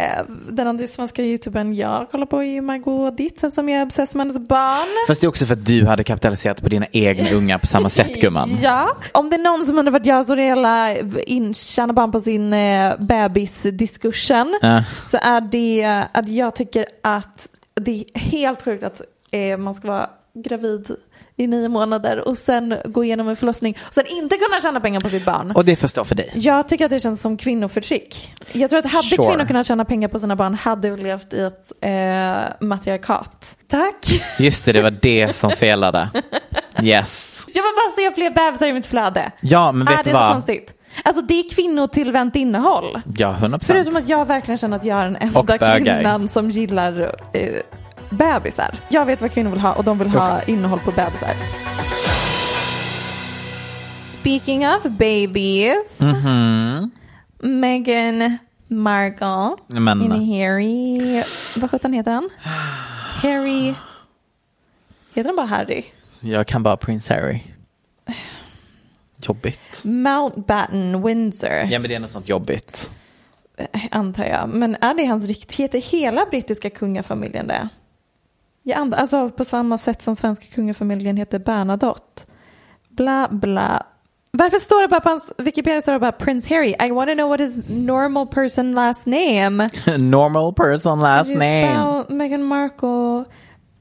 S2: den andra svenska youtubern jag kollar på är ju Margot Dietz eftersom jag är obsessed med hennes barn.
S3: Fast det är också för att du hade kapitaliserat på dina
S2: *laughs*
S3: egna unga på samma sätt gumman.
S2: Ja, om det är någon som undrar vad jag så hela intjänar barn på sin eh, bebisdiskursen
S3: Ja.
S2: så är det att jag tycker att det är helt sjukt att eh, man ska vara gravid i nio månader och sen gå igenom en förlossning och sen inte kunna tjäna pengar på sitt barn.
S3: Och det förstår för dig.
S2: Jag tycker att det känns som kvinnoförtryck. Jag tror att hade
S3: Sure.
S2: kvinnor kunnat tjäna pengar på sina barn hade vi levt i ett eh, matriarkat. Tack!
S3: Just det, det var det som felade. Yes.
S2: *laughs* Jag vill bara se fler bebisar i mitt flöde.
S3: Ja, men
S2: är
S3: vet
S2: Ah, det
S3: du
S2: så
S3: vad?
S2: konstigt? Alltså det är kvinnotillvänt innehåll.
S3: Ja, 100
S2: Förutom att jag verkligen känner att jag är den
S3: Och
S2: enda
S3: bögar.
S2: kvinnan som gillar eh, bebisar. Jag vet vad kvinnor vill ha och de vill ha innehåll på bebisar. Speaking of babies.
S3: Mhm.
S2: Meghan Markle.
S3: Men-
S2: In Harry. Vad sjutton heter han? Harry. Heter den bara Harry?
S3: Jag kan bara
S2: *sighs*
S3: Prince Harry. Jobbigt.
S2: Mountbatten Windsor,
S3: Ja men det är något sånt jobbigt.
S2: antar jag. Men är det hans rikt... Heter hela brittiska kungafamiljen det? Jag antar, alltså på samma sätt som svenska kungafamiljen heter Bernadotte. Bla, bla. Varför står det bara på hans Wikipedia står det bara Prince Harry? I wanna know what his normal person last name.
S3: *laughs* Normal person last
S2: Just
S3: name.
S2: Bell, Meghan Markle.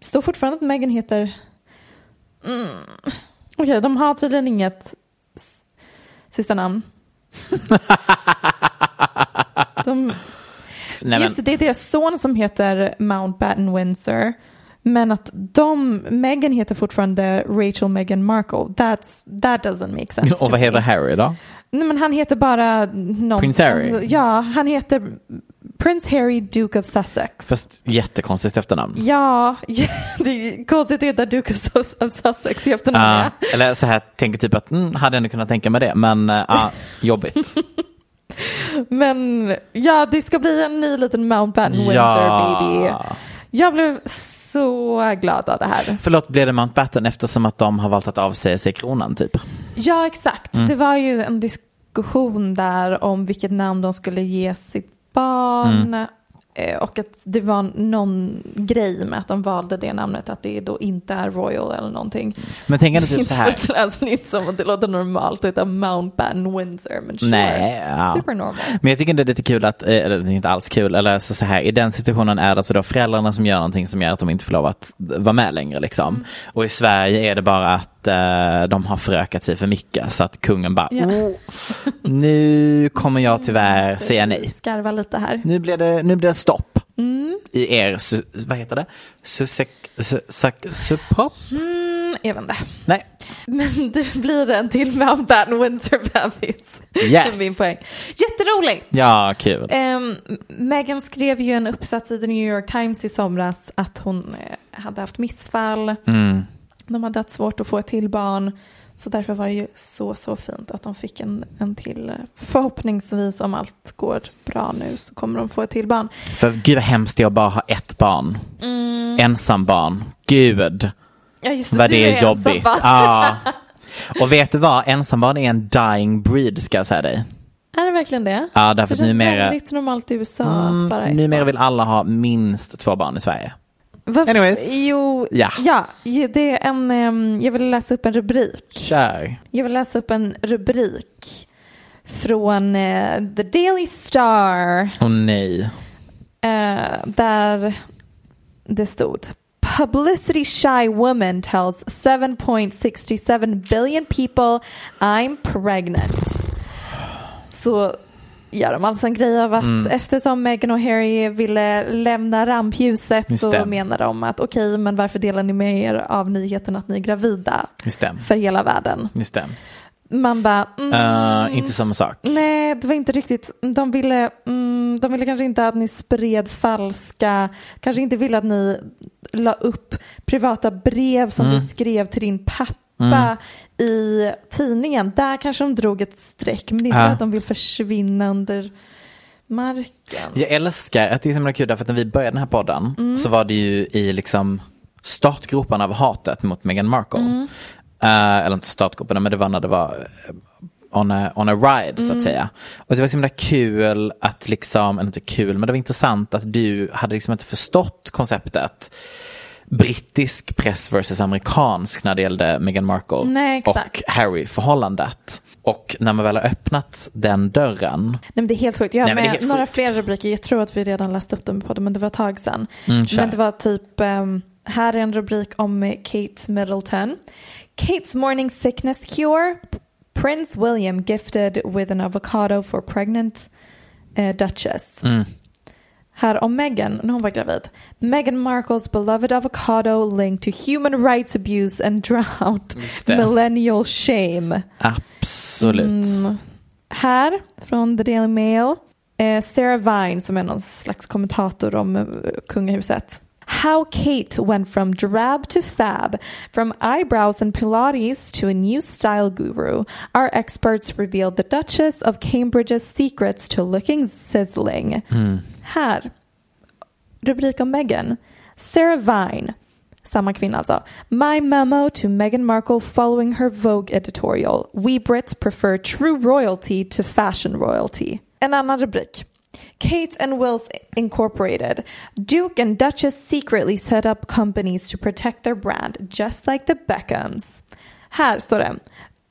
S2: Står fortfarande att Meghan heter... Mm. Okej, de har tydligen inget s- sista
S3: *laughs*
S2: namn. de,
S3: Nej, men,
S2: just det, det är deras son som heter Mountbatten Windsor. Men att de, Meghan heter fortfarande Rachel Meghan Markle. That's, that doesn't make sense.
S3: *laughs* och vad
S2: to
S3: heter
S2: me.
S3: Harry då?
S2: Nej men han heter bara... Någon, Alltså,
S3: Prince Harry?
S2: Ja, han heter Prince Harry Duke of Sussex.
S3: Fast jättekonstigt efternamn.
S2: Ja, *laughs* det är konstigt att heta Duke of Sus- of Sussex i
S3: Ja,
S2: efternamn.
S3: Ah, eller så här, tänker typ att mm, hade jag ändå kunnat tänka mig det, men eh,
S2: *laughs*
S3: ja, jobbigt.
S2: Men ja, det ska bli en ny liten Mountbatten Windsor baby. Jag blev så glad av det här.
S3: Förlåt, blev det Mountbatten eftersom att de har valt att avsäga sig kronan typ?
S2: Ja, exakt.
S3: Mm.
S2: Det var ju en diskussion där om vilket namn de skulle ge sitt barn.
S3: Mm.
S2: Eh, Och att det var någon grej med att de valde det namnet, att det då inte är Royal eller någonting.
S3: Men tänk ändå typ så
S2: *laughs*
S3: här.
S2: Inte för att alltså, det är inte som att det låter normalt att heta Mountbatten Windsor, men sure.
S3: Nej, ja.
S2: Supernormal.
S3: Men jag tycker det är lite kul att, eh, eller det är inte alls kul, eller alltså så, så här, i den situationen är det alltså då föräldrarna som gör någonting som gör att de inte får lov att vara med längre liksom. Och i Sverige är det bara att eh, de har förökat sig för mycket så att kungen bara,
S2: Ja.
S3: "Oh, nu kommer jag tyvärr säga nej.
S2: Skarva lite här.
S3: Nu blir det, nu blir det stopp. I er, su, vad heter det? Susek, su, sak, supop?
S2: Mm, jag vet inte.
S3: Nej.
S2: Men det blir en till Mountbatten Windsor-bebis.
S3: Yes.
S2: Min poäng. Jätteroligt.
S3: Ja, kul.
S2: Um, Megan skrev ju en uppsats i The New York Times i somras att hon eh, hade haft missfall.
S3: Mm.
S2: De hade haft svårt att få ett till barn. Så därför var det ju så, så fint att de fick en, en till. eh, Förhoppningsvis om allt går bra nu så kommer de få ett till barn.
S3: För gud vad hemskt det är att bara ha ett barn. Ensam barn. Gud.
S2: Ja, just
S3: Vad
S2: du
S3: det är
S2: ensam
S3: jobbigt.
S2: barn.
S3: Ja. Och vet du vad, ensambarn är en dying breed ska jag säga dig.
S2: Är det verkligen det?
S3: Ja, därför
S2: det
S3: att
S2: känns
S3: numera,
S2: väldigt normalt i USA att bara
S3: mm,
S2: ett
S3: numera
S2: barn.
S3: vill alla ha minst två barn i Sverige.
S2: Varför-
S3: Anyways.
S2: Jo,
S3: Ja.
S2: ja, det är en, ehm, jag vill läsa upp en rubrik.
S3: Kör.
S2: Jag vill läsa upp en rubrik från eh, The Daily Star
S3: Åh nej.
S2: eh, där det stod Publicity shy woman tells 7.67 billion people I'm pregnant. Så gör de alltså en grej av att
S3: Mm.
S2: eftersom Meghan och Harry ville lämna rampljuset
S3: Just
S2: så
S3: det.
S2: menar de att okej men varför delar ni med er av nyheten att ni är gravida
S3: Just det.
S2: för hela världen?
S3: Just det.
S2: Man bara mm,
S3: Eh, inte samma sak.
S2: Nej, det var inte riktigt. De ville, mm, de ville kanske inte att ni spred falska, kanske inte ville att ni la upp privata brev som du skrev till din pappa i tidningen. Där kanske de drog ett streck, men det är inte
S3: Ja.
S2: att de vill försvinna under marken.
S3: Jag älskar att det är så himla kul därför att när vi började den här podden så var det ju i liksom startgroparna av hatet mot Meghan Markle.
S2: Mm.
S3: Eh, eller inte startgroparna men det var när det var eh, on a, on a ride
S2: Mm.
S3: så att säga. Och det var så himla kul att liksom, eller inte kul men det var intressant att du hade liksom inte förstått konceptet brittisk press versus amerikansk när det gällde Meghan Markle
S2: Nej,
S3: och
S2: exakt.
S3: Harry-förhållandet. Och när man väl har öppnat den dörren
S2: Nej men det är helt sjukt. Jag har
S3: Nej, men det är
S2: med
S3: helt
S2: några
S3: sjukt.
S2: fler rubriker. Jag tror att vi redan läste upp dem på podden men det var ett tag sedan.
S3: Mm, kör.
S2: men det var typ, ehm, här är en rubrik om eh, Kate Middleton. Kate's morning sickness cure. P- Prince William gifted with an avocado for pregnant eh, duchess.
S3: Mm.
S2: Här om Meghan, när hon var gravid. Meghan Markles beloved avocado linked to human rights abuse and drought.
S3: det.
S2: Millennial shame.
S3: Absolut.
S2: Mm. Här från The Daily Mail. Eh, Sarah Vine som är någon slags kommentator om eh, kungahuset. How Kate went from drab to fab, from eyebrows and pilates to a new style guru. Our experts revealed the Duchess of Cambridge's secrets to looking sizzling. Här, rubrik om Meghan. Sarah Vine. samma kvinna alltså. My memo to Meghan Markle following her Vogue editorial. We Brits prefer true royalty to fashion royalty. En annan rubrik. Kate and Wills Incorporated. Duke and Duchess secretly set up companies to protect their brand, just like the Beckhams. Här står det.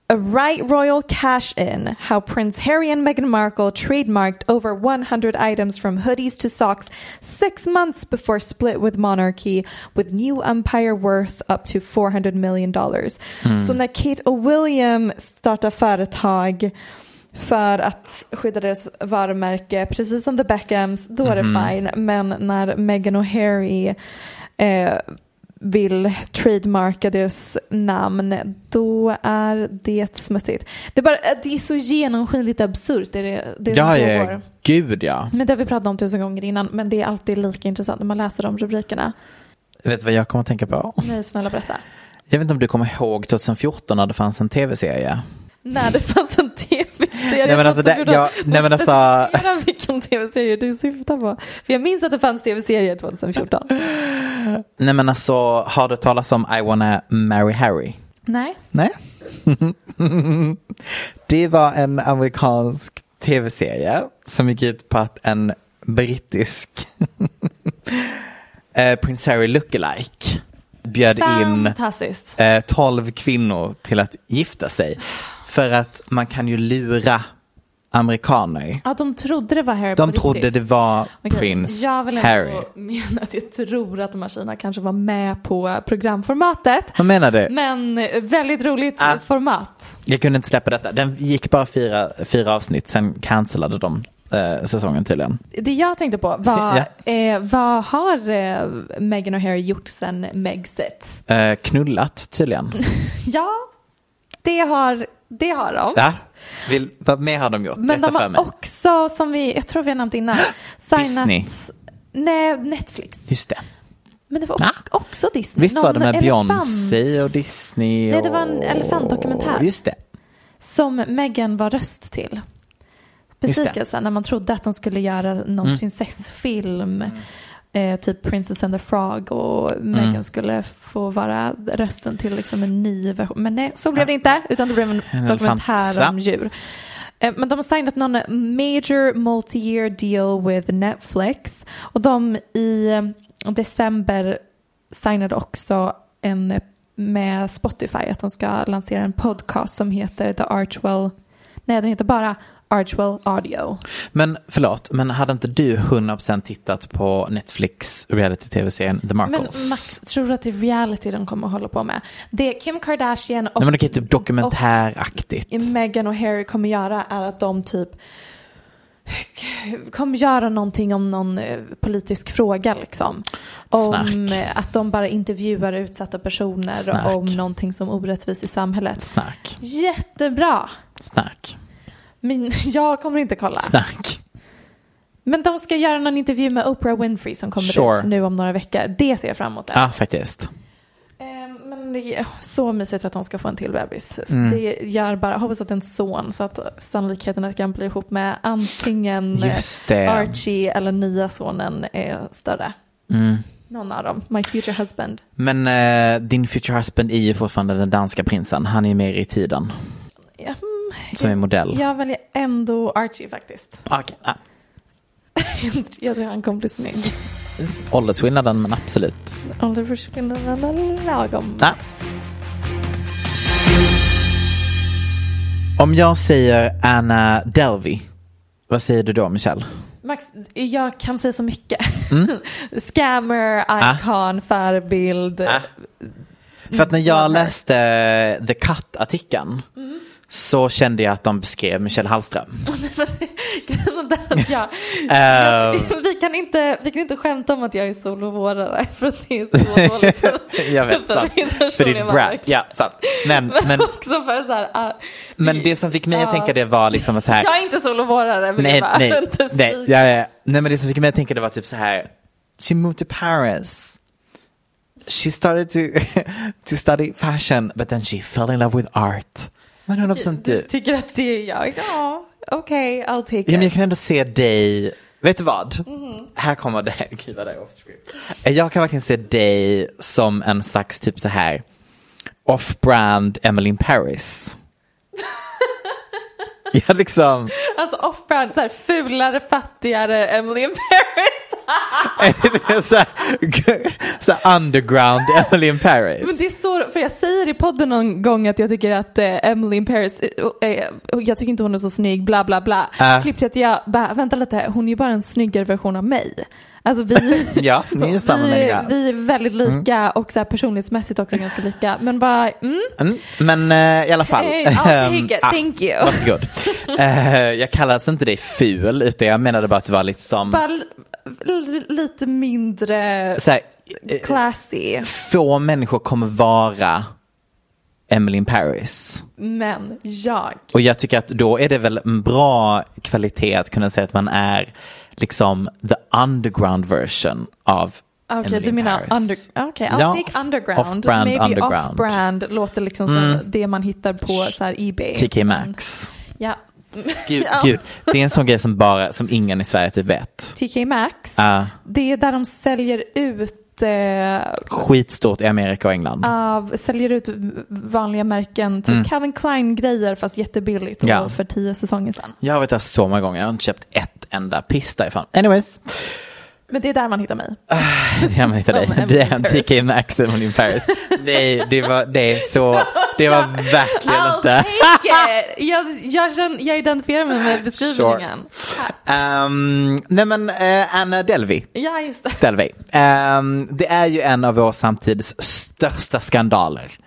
S2: A right royal cash in. How Prince Harry and Meghan Markle trademarked over 100 items from hoodies to socks six months before split with monarchy, with new empire worth up to 400 million dollars. Så när Kate och William startar företag för att skydda deras varumärke, precis som The Beckhams, då är det fine. Men när Meghan och Harry eh, vill trademarka deras namn, då är det smutsigt. Det är, bara, eh, det är så genomskinligt absurt. Det är det, det, är det som
S3: Ja,
S2: pågår.
S3: ja, gud ja.
S2: Men det har vi pratat om tusen gånger innan, men det är alltid lika intressant när man läser de rubrikerna.
S3: Vet du vad jag kommer att tänka på?
S2: Nej, snälla berätta.
S3: Jag vet inte om du kommer ihåg 2014 när det fanns en tv-serie.
S2: När det fanns en tv-serie.
S3: Nej, men alltså,
S2: Jag
S3: det-
S2: måste
S3: jag- nej, men alltså-
S2: specificera vilken tv-serie du syftar på. För jag minns att det fanns tv-serier 2014.
S3: Nej men alltså, har du talat om I wanna marry Harry?
S2: Nej.
S3: Nej. *laughs* det var en amerikansk tv-serie som gick ut på att en brittisk *laughs* eh, Prince Harry lookalike bjöd in
S2: Fantastiskt.
S3: eh, 12 kvinnor till att gifta sig. För att man kan ju lura amerikaner.
S2: Ja, de trodde det var Harry
S3: De
S2: på
S3: trodde
S2: riktigt.
S3: det var
S2: Okej,
S3: prins
S2: Jag vill ändå
S3: Harry.
S2: mena att jag tror att de här tjejerna kanske var med på programformatet.
S3: Vad menar du?
S2: Men eh, väldigt roligt
S3: eh, Ah.
S2: format.
S3: Jag kunde inte släppa detta. Den gick bara fyra, fyra avsnitt, sen cancellade de eh, säsongen tydligen.
S2: Det jag tänkte på var,
S3: *laughs* Ja.
S2: eh, vad har eh, Meghan och Harry gjort sen Megxit?
S3: Eh, knullat
S2: *laughs*
S3: tydligen.
S2: Ja, det har, det har de.
S3: ja. Vill, vad mer har de gjort?
S2: Men
S3: Berätta
S2: de
S3: för
S2: har
S3: mig.
S2: också, som vi, jag tror vi har nämnt
S3: *gasps*
S2: innan, signat...
S3: Disney.
S2: Nej, Netflix.
S3: Just det.
S2: Men det var
S3: Ah.
S2: också, också Disney.
S3: Visst var det
S2: Någon
S3: med
S2: elefant
S3: Beyoncé och Disney?
S2: Nej, det var en
S3: och-
S2: elefantdokumentär.
S3: Just det.
S2: Som Meghan var röst till.
S3: Just det. Mm.
S2: Besvikelsen när man trodde att de skulle göra någon prinsessfilm. Eh, typ Princess and the Frog och
S3: Mm.
S2: Meghan skulle få vara rösten till liksom en ny version. Men nej, så blev det inte. Utan det blev en
S3: En
S2: dokumentär om
S3: elefantsa.
S2: djur. Eh, Men de har signat någon major multi-year deal with Netflix. Och de i eh, december signade också en eh, med Spotify att de ska lansera en podcast som heter The Archwell. Nej, den heter bara Archwell Audio.
S3: Men förlåt, men hade inte du 100% tittat på Netflix reality-tv-serien The
S2: Men
S3: Markles?
S2: Max, tror du att det är reality de kommer att hålla på med? Det Kim Kardashian och
S3: Nej men det är typ dokumentäraktigt.
S2: Meghan och Harry kommer göra är att de typ kommer göra någonting om någon eh, politisk fråga liksom. Om
S3: Snack.
S2: eh, att de bara intervjuar utsatta personer
S3: Snack.
S2: om någonting som är orättvist i samhället.
S3: Snack,
S2: Jättebra!
S3: snack,
S2: Men *laughs* jag kommer inte kolla.
S3: snack.
S2: Men de ska göra någon intervju med Oprah Winfrey som kommer
S3: Sure.
S2: ut nu om några veckor. Det ser jag fram emot.
S3: Ja, faktiskt.
S2: Eh, Men det är så mysigt att de ska få en till bebis.
S3: Mm.
S2: Det gör bara, hoppas att det är en son så att sannolikheten att han blir ihop med antingen eh,
S3: Just det.
S2: Archie eller nya sonen är större.
S3: Mm.
S2: Någon av dem, my future husband.
S3: Men eh, din future husband är ju fortfarande den danska prinsen. Han är ju mer i tiden.
S2: Ja, mm,
S3: Som är modell.
S2: Jag väljer ändå Archie faktiskt. *laughs*
S3: Okej, ah,
S2: Jag tror han kommer bli snygg.
S3: Åldersskillnaden men absolut.
S2: Åldersskillnaden är lagom.
S3: Ah. Om jag säger Anna Delvey. Vad säger du då Michelle?
S2: Max, jag kan säga så mycket.
S3: Mm.
S2: *laughs* Scammer,
S3: Ah.
S2: icon, förebild. *laughs*
S3: För att när jag läste eh, The Cut-artikeln. Så kände jag att de beskrev Michelle Hallström.
S2: Grejen är att jag,
S3: Eh, Ehm.
S2: jag, *laughs* vi, kan inte, vi kan inte skämta om att jag är solovårdare *laughs* för att det är så dåligt för,
S3: *laughs* Jag vet, sant.
S2: min
S3: För
S2: personliga
S3: ditt brand.
S2: mark. *laughs*
S3: Ja, sant. Men,
S2: Men, *laughs*
S3: men, *laughs*
S2: också för så här, ah,
S3: men det som fick mig att tänka det var liksom så här.
S2: jag är inte solovårdare vill jag
S3: Nej,
S2: bara
S3: nej,
S2: *laughs* inte
S3: nej,
S2: skrika.
S3: ja, ja. nej, men det som fick mig att tänka det var typ så här. She moved to Paris. She started to, *laughs* to study fashion but then she fell in love with art. Men 100%
S2: Du
S3: du.
S2: tycker att det är jag? Ja, okej, I'll take
S3: Ja, men jag
S2: it.
S3: kan ändå se dig Vet du vad?
S2: Mhm.
S3: Här kommer det. *laughs* Gud vad det är off script. Jag kan verkligen se dig som en slags typ så här off-brand Emily
S2: *laughs*
S3: in Paris. ja, liksom.
S2: Alltså off-brand, så här fulare, fattigare Emily in Paris.
S3: så, här, så här underground Emily in Paris.
S2: Men det är så, för jag säger i podden någon gång att jag tycker att eh, Emily in Paris, eh, eh, jag tycker inte hon är så snygg, bla bla bla.
S3: Äh.
S2: Klipp till att jag bara, vänta lite, hon är ju bara en snyggare version av mig. Alltså vi,
S3: *laughs* Ja, ni är samma
S2: vi,
S3: människa. Mm.
S2: vi är väldigt lika och så här personlighetsmässigt också ganska lika. Men bara, mm,
S3: Mm, Men eh, i alla fall.
S2: Hey, I'll
S3: Ehm,
S2: take it,
S3: ah,
S2: thank you.
S3: Varsågod. Eh, jag kallas inte dig ful, utan jag menade bara att du var lite som...
S2: bara l- l- lite mindre
S3: Så här, eh,
S2: classy.
S3: få människor kommer vara Emily in Paris.
S2: Men jag,
S3: Och jag tycker att då är det väl en bra kvalitet att kunna säga att man är liksom the underground version av
S2: Ah, okej
S3: Emily
S2: du
S3: in
S2: menar
S3: Paris.
S2: under, ah, okay, I'll
S3: Ja,
S2: take underground.
S3: off-brand
S2: Maybe
S3: underground. Mm.
S2: off-brand låter liksom som det man hittar på så här ebay.
S3: TK Maxx.
S2: Ja.
S3: Gud,
S2: Ja.
S3: gud, det är en sån grej som bara, som ingen i Sverige typ vet.
S2: TK Maxx,
S3: Ah.
S2: det är där de säljer ut eh,
S3: Skitstort i Amerika och England.
S2: av, säljer ut vanliga märken, typ Calvin Klein-grejer fast jättebilligt
S3: Mm. Ja.
S2: och för tio säsonger sedan.
S3: Jag har varit där så många gånger, jag har inte köpt ett enda piss därifrån. Anyways, *laughs*
S2: Men det är där man hittar mig.
S3: det är man hittar dig.
S2: Som Emily
S3: Det
S2: in
S3: är en TK Maxx Emily in Paris. Nej, det var, det är så,
S2: *laughs*
S3: det var verkligen
S2: I'll
S3: inte.
S2: take it! Jag, jag, känner, jag identifierar mig med beskrivningen. Tack.
S3: Ehm, nej men eh, Anna Delvey.
S2: Ja, just det.
S3: Delvey. Ehm, det är ju en av vår samtids största skandaler.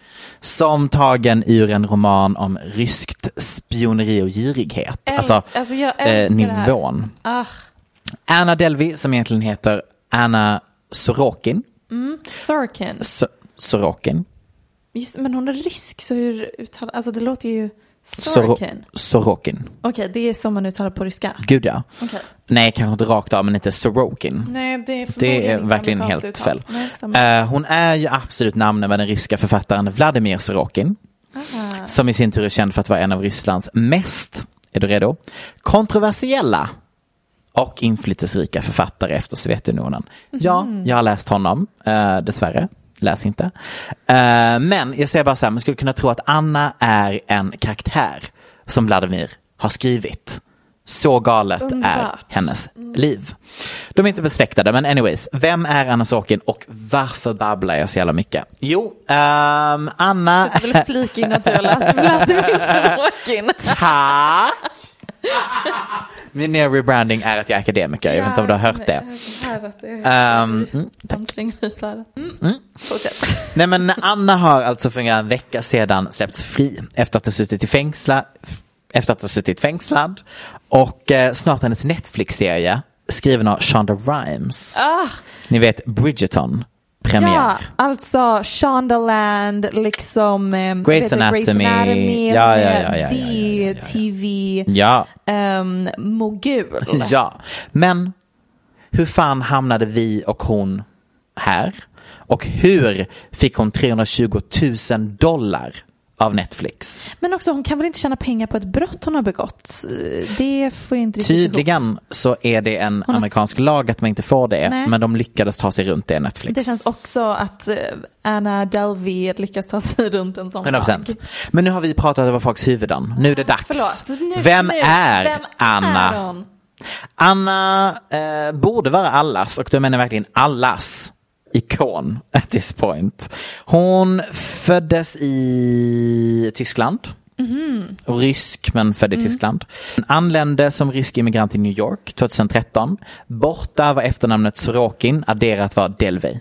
S3: Som tagen ur en roman om ryskt spioneri och girighet. eh,
S2: Älsk- alltså, jag älskar det här.
S3: nivån.
S2: Ah,
S3: Anna Delvey som egentligen heter Anna Sorokin.
S2: Sorkin.
S3: S- Sorokin.
S2: Just, men hon är rysk, så hur uttalar... Alltså det låter ju...
S3: Soro-
S2: Sorkin.
S3: Sorokin.
S2: Okej, det är som man uttalar på ryska.
S3: Gud ja.
S2: Okej.
S3: Nej, kanske inte rakt av men inte Sorokin.
S2: Nej, det är
S3: Det
S2: förmodligen
S3: är
S2: inte
S3: verkligen helt
S2: amerikanskt
S3: fel.
S2: uttal. Nej, det stämmer.
S3: Eh, hon är ju absolut namnen med den ryska författaren Vladimir Sorokin. Som i sin tur är känd för att vara en av Rysslands mest, är du redo? Kontroversiella och inflytelserika författare efter Sovjetunionen. Ja, jag har läst honom, eh, dessvärre. Läs inte. Eh, men jag säger bara så här, man skulle kunna tro att Anna är en karaktär som Vladimir har skrivit. Så galet är
S2: Underbart.
S3: hennes liv. De är inte besläktade, men anyways. Vem är Anna Sorkin och varför babblar jag så jävla mycket? Jo, ehm, Anna... *laughs*
S2: Jag ville flika in att jag läste Vladimir Sorokin.
S3: Ta! Min nya rebranding är att jag är akademiker. *laughs* Jag vet inte om du har hört det. Ehm, mm,
S2: Mm. Fortsätt.
S3: Nej men Anna har alltså för en vecka sedan släppts fri efter att ha suttit i fängsla, efter att ha suttit fängslad och eh, snart hennes Netflix-serie skriven av Shonda Rhimes. Ni vet Bridgerton premiär.
S2: Ja, alltså Shondaland, liksom ehm,
S3: Grey's
S2: vet du,
S3: Anatomy.
S2: Anatomy,
S3: Ja,
S2: med
S3: ja, ja, ja, ja, ja, ja, ja.
S2: DTV,
S3: Ja.
S2: ehm, mogul.
S3: Ja, men hur fan hamnade vi och hon här? Och hur fick hon 320 000 dollar av Netflix?
S2: Men också hon kan väl inte tjäna pengar på ett brott hon har begått? Eh, Det får jag inte riktigt ihop.
S3: Tydligen så är det en
S2: har-
S3: amerikansk lag att man inte får det,
S2: Nej.
S3: men de lyckades ta sig runt det i Netflix.
S2: Det känns också att eh, Anna Delvey lyckas ta sig runt en sån
S3: 100%.
S2: lag.
S3: Men nu har vi pratat över folks huvuden. Nu är det dags.
S2: Förlåt. Nu,
S3: Vem,
S2: nu.
S3: är
S2: Vem
S3: Anna?
S2: Är hon?
S3: Anna eh, borde vara allas och då menar jag verkligen allas ikon at this point. Hon föddes i Tyskland. Rysk men född i Tyskland. Anlände som rysk immigrant i New York 2013. Borta var efternamnet Sorokin, adderat var Delvey.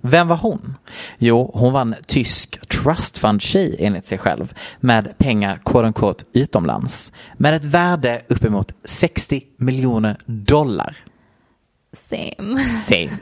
S3: Vem var hon? Jo, hon var en tysk trust fund-tjej enligt sig själv med pengar quote unquote utomlands med ett värde uppemot 60 miljoner dollar.
S2: Same.
S3: Säg.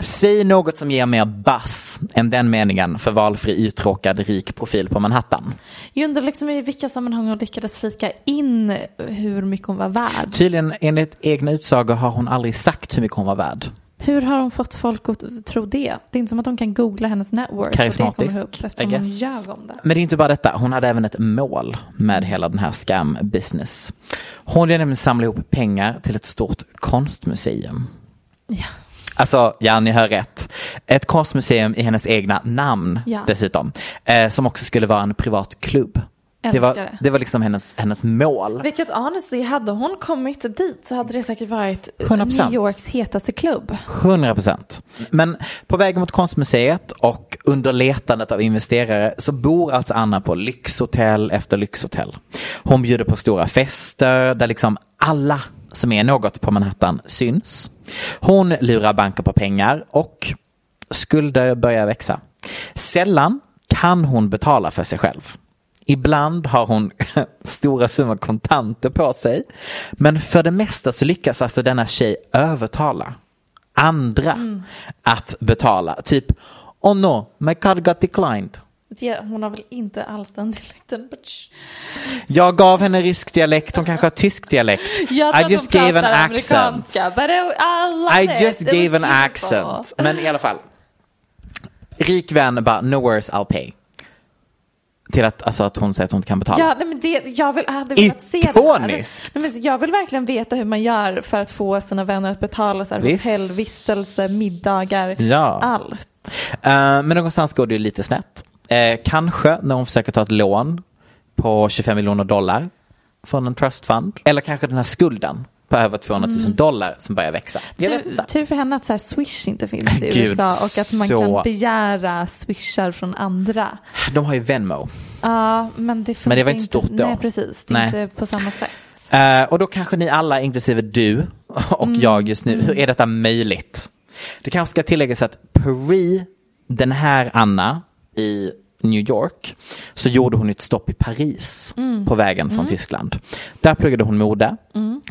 S3: Säg något som ger mer buzz än den meningen för valfri uttråkad rik profil på Manhattan.
S2: Jag undrar liksom i vilka sammanhang hon lyckades flika in hur mycket hon var värd.
S3: Tydligen enligt egna utsagor har hon aldrig sagt hur mycket hon var värd.
S2: Hur har hon fått folk att tro det? Det är inte som att de kan googla hennes network.
S3: Karismatisk,
S2: Eftersom
S3: I
S2: hon
S3: guess.
S2: ljög om det.
S3: Men det är inte bara detta, hon hade även ett mål med hela den här scam business. Hon ville nämligen samla ihop pengar till ett stort konstmuseum.
S2: Ja.
S3: Alltså, ja ni hör rätt. Ett konstmuseum i hennes egna namn
S2: Ja.
S3: dessutom. Eh, som också skulle vara en privat klubb. Det
S2: Älskar
S3: var,
S2: det.
S3: det var liksom hennes, hennes mål.
S2: Vilket honestly, hade hon kommit dit så hade det säkert varit
S3: 100%.
S2: New Yorks hetaste klubb.
S3: 100 procent. Men på väg mot konstmuseet och under letandet av investerare så bor alltså Anna på lyxhotell efter lyxhotell. Hon bjuder på stora fester där liksom alla som är något på Manhattan syns. Hon lurar banker på pengar och skulder börjar växa. Sällan kan hon betala för sig själv. Ibland har hon *laughs* stora summor kontanter på sig. Men för det mesta så lyckas alltså denna tjej övertala andra
S2: Mm.
S3: att betala. Typ, oh no, my card got declined.
S2: Ja, Hon har väl inte alls den dialekten. But shh.
S3: Jag gav henne rysk dialekt, hon kanske har tysk dialekt.
S2: *laughs* Jag tror
S3: I just
S2: att hon
S3: gave an
S2: pratar
S3: accent.
S2: amerikanska, But I, I, love
S3: I just
S2: it. It
S3: gave an
S2: was beautiful.
S3: accent. Men i alla fall. Rik vän bara, no worries I'll pay. Till att, alltså, att hon säger att hon inte kan betala.
S2: Ja, nej, men det, jag vill, jag hade velat se det här. nej,
S3: Ikoniskt.
S2: men Jag vill verkligen veta hur man gör för att få sina vänner att betala så här,
S3: Visst.
S2: hotellvistelse, middagar,
S3: Ja.
S2: allt.
S3: Eh, men någonstans går det ju lite snett. Eh, kanske när hon försöker ta ett lån på 25 miljoner dollar från en trust fund. Eller kanske den här skulden på över 200 000 dollar som börjar växa. Jag vet
S2: Tur,
S3: inte.
S2: tur för henne att så här, swish inte finns i
S3: Gud,
S2: USA och att man
S3: så-
S2: kan begära swishar från andra.
S3: De har ju Venmo.
S2: Ja, men det funkar
S3: Men det var inte
S2: inte.
S3: stort då.
S2: Nej, precis. Det är
S3: Nej.
S2: inte på samma sätt.
S3: Eh, och då kanske ni alla, inklusive du och jag just nu, hur är detta möjligt? Det kanske ska tilläggas att pre den här Anna i New York så gjorde hon ett stopp i Paris på vägen från Tyskland. Där pluggade hon mode.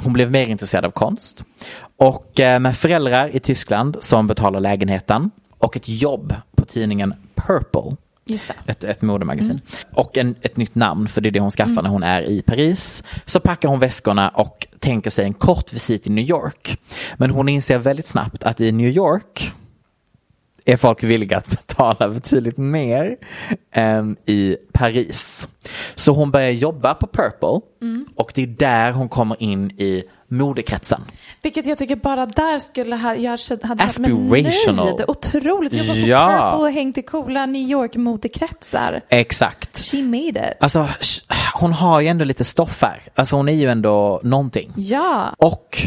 S3: Hon blev mer intresserad av konst. Och eh, med föräldrar i Tyskland som betalar lägenheten och ett jobb på tidningen Purple
S2: Just det.
S3: ett, ett modemagasin. Och en, ett nytt namn, för det är det hon skaffar när hon är i Paris. Så packar hon väskorna och tänker sig en kort visit i New York. Men hon inser väldigt snabbt att i New York är folk villiga att *laughs* betala betydligt mer än i Paris. Så hon börjar jobba på Purple och det är där hon kommer in i modekretsen.
S2: Vilket jag tycker bara där skulle ha, jag hade hade haft men
S3: Aspirational.
S2: nöjd. Otroligt. Jag var på
S3: Ja.
S2: Purple och hängt i coola New York-modekretsar.
S3: Exakt.
S2: She made it.
S3: Alltså, sh- hon har ju ändå lite stoff här. Alltså hon är ju ändå någonting.
S2: Ja.
S3: Och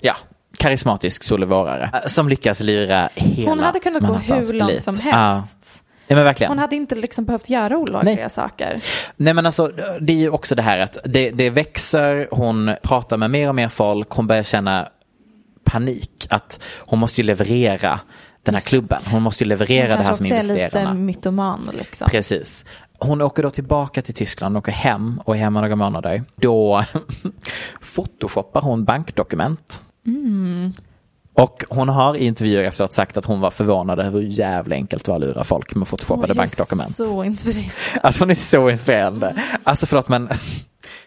S3: ja, karismatisk solvårare eh, som lyckas lira hela
S2: Hon hade kunnat gå
S3: Manhattans
S2: hur långt
S3: elit.
S2: som
S3: Ja.
S2: helst.
S3: Ja, men verkligen.
S2: Hon hade inte liksom behövt göra olagliga
S3: Nej.
S2: saker.
S3: Nej men alltså det är ju också det här att det, det växer, hon pratar med mer och mer folk, hon börjar känna panik att hon måste ju leverera den här klubben, hon måste ju leverera det här som
S2: Kanske också är lite
S3: investerarna.
S2: mytoman liksom.
S3: Precis. Hon åker då tillbaka till Tyskland, åker hem och är hemma några månader. Då *laughs* photoshoppar hon bankdokument.
S2: Mm.
S3: Och hon har i intervjuer efteråt sagt att hon var förvånad över hur jävla enkelt det var att lura folk med
S2: Hon
S3: photoshoppade
S2: är
S3: bankdokument.
S2: Så inspirerande.
S3: Alltså hon är så inspirerande. Alltså förlåt men.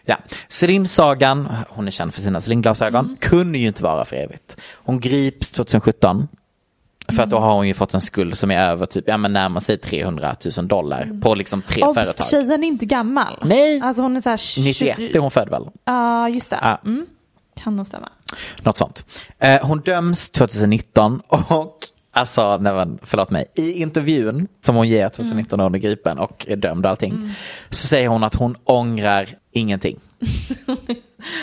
S3: Ja, Celine-sagan, hon är känd för sina Celine-glasögon, kunde ju inte vara för evigt. Hon grips 2017. För att då har hon ju fått en skuld som är över typ, ja men närmar sig 300 000 dollar på liksom tre
S2: Och
S3: företag.
S2: tjejen är inte gammal.
S3: Nej.
S2: Alltså hon är så här 20...
S3: 91 är hon född väl?
S2: Ja, just det.
S3: Ja.
S2: Mm. Kan nog stämma.
S3: Något sånt. Eh, hon döms 2019 och Alltså, nej men, förlåt mig. I intervjun som hon ger 2019 när hon är gripen och är dömd och allting. Så säger hon att hon ångrar
S2: *laughs*
S3: ingenting.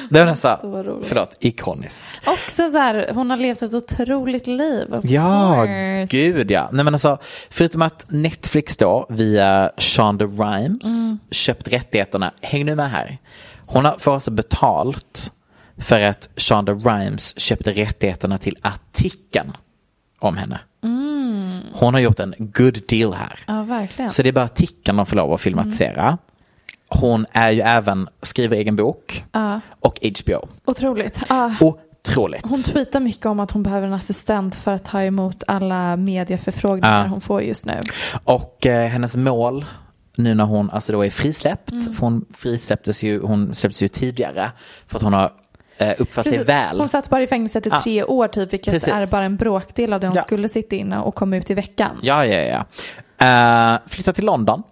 S3: det var nästan,
S2: Så roligt.
S3: förlåt, ikonisk.
S2: Också så här, hon har levt ett otroligt liv. of
S3: Ja,
S2: course.
S3: gud ja. Nej men alltså, förutom att Netflix då via Shonda Rhimes
S2: Mm.
S3: köpt rättigheterna, häng nu med här. Hon har för oss betalt för att Shonda Rhimes köpte rättigheterna till artikeln om henne. Hon har gjort en good deal här.
S2: Mm. Ja, Mm. verkligen.
S3: Så det är bara artikeln de får lov att filmatisera. Hon är ju även, skriver egen bok och HBO.
S2: Otroligt. Ja.
S3: Otroligt.
S2: Hon tweetar mycket om att hon behöver en assistent för att ta emot alla medieförfrågningar
S3: Ja.
S2: hon får just nu.
S3: Och eh, hennes mål nu när
S2: Mm.
S3: hon alltså då är frisläppt, för hon frisläpptes ju, hon släpptes ju tidigare för att hon har eh, uppför sig
S2: Precis.
S3: väl.
S2: Hon satt bara i fängelset i
S3: Ja.
S2: tre år typ, vilket
S3: Precis.
S2: är bara en bråkdel av det hon
S3: Ja.
S2: skulle sitta inne och komma ut i veckan.
S3: Ja, ja, ja. Eh, flytta till London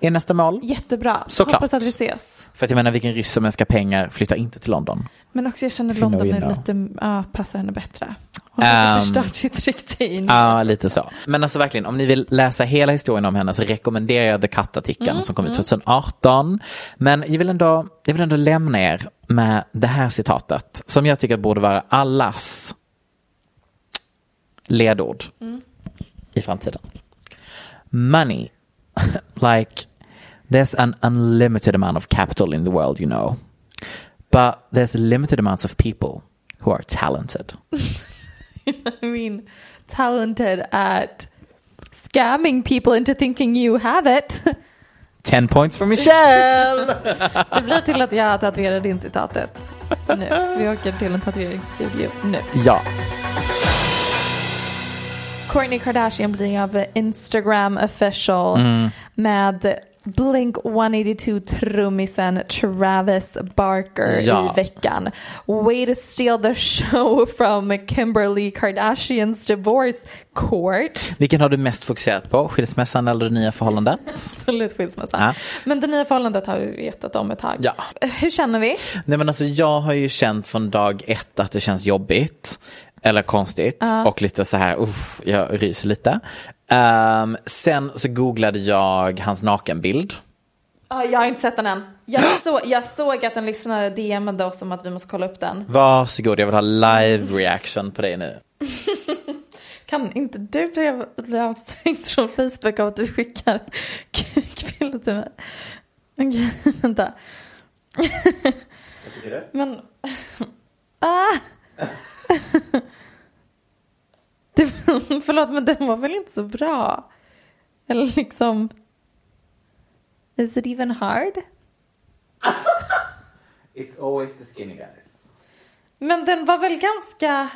S3: är nästa mål.
S2: Jättebra,
S3: Såklart.
S2: hoppas att vi ses.
S3: För att jag menar vilken ryss som önskar pengar flyttar inte till London.
S2: Men också jag känner att
S3: Finna och
S2: London är
S3: vinna.
S2: lite, ja, passar henne bättre. Hon har
S3: Ehm.
S2: förstört sitt rykte i New
S3: Ja, lite så. Men alltså verkligen, om ni vill läsa hela historien om henne så rekommenderar jag The Cut-artikeln som kom ut 2018. Men jag vill, ändå, jag vill ändå lämna er med det här citatet som jag tycker borde vara allas ledord i framtiden. Money, *laughs* like there's an unlimited amount of capital in the world you know. But there's limited amounts of people who are talented.
S2: I mean, talented at scamming people into thinking you have it. *laughs*
S3: 10 points for Michelle!
S2: Det blir till att jag tatuerar in citatet. Nu, vi åker till en tatueringsstudio nu.
S3: Ja.
S2: Kourtney Kardashian blir av Instagram official med Blink 182-trummisen Travis Barker
S3: Ja.
S2: i veckan. Way to steal the show from Kimberly Kardashians divorce court.
S3: Vilken har du mest fokuserat på? Skilsmässan eller det nya förhållandet?
S2: Absolut skilsmässa.
S3: Ja.
S2: Men det nya förhållandet har vi vetat om ett tag.
S3: Ja.
S2: Hur känner vi?
S3: Nej men alltså jag har ju känt från dag ett att det känns jobbigt. Eller konstigt. Och lite så här, uff, jag ryser lite. Ehm, sen så googlade jag hans nakenbild.
S2: Ja, jag har inte sett den än. Jag,
S3: *gasps*
S2: så, jag såg att en lyssnare DMade oss om att vi måste kolla upp den.
S3: Varsågod, jag vill ha live reaction på dig nu.
S2: Kan inte du bli, bli avstängd från Facebook av att du skickar kukbilder till mig? Okej, *laughs* vänta. Men... *laughs* Ah! *laughs* Det, förlåt, men den var väl inte så bra? Eller liksom... Is it even hard?
S3: It's always the skinny guys.
S2: Men den var väl ganska...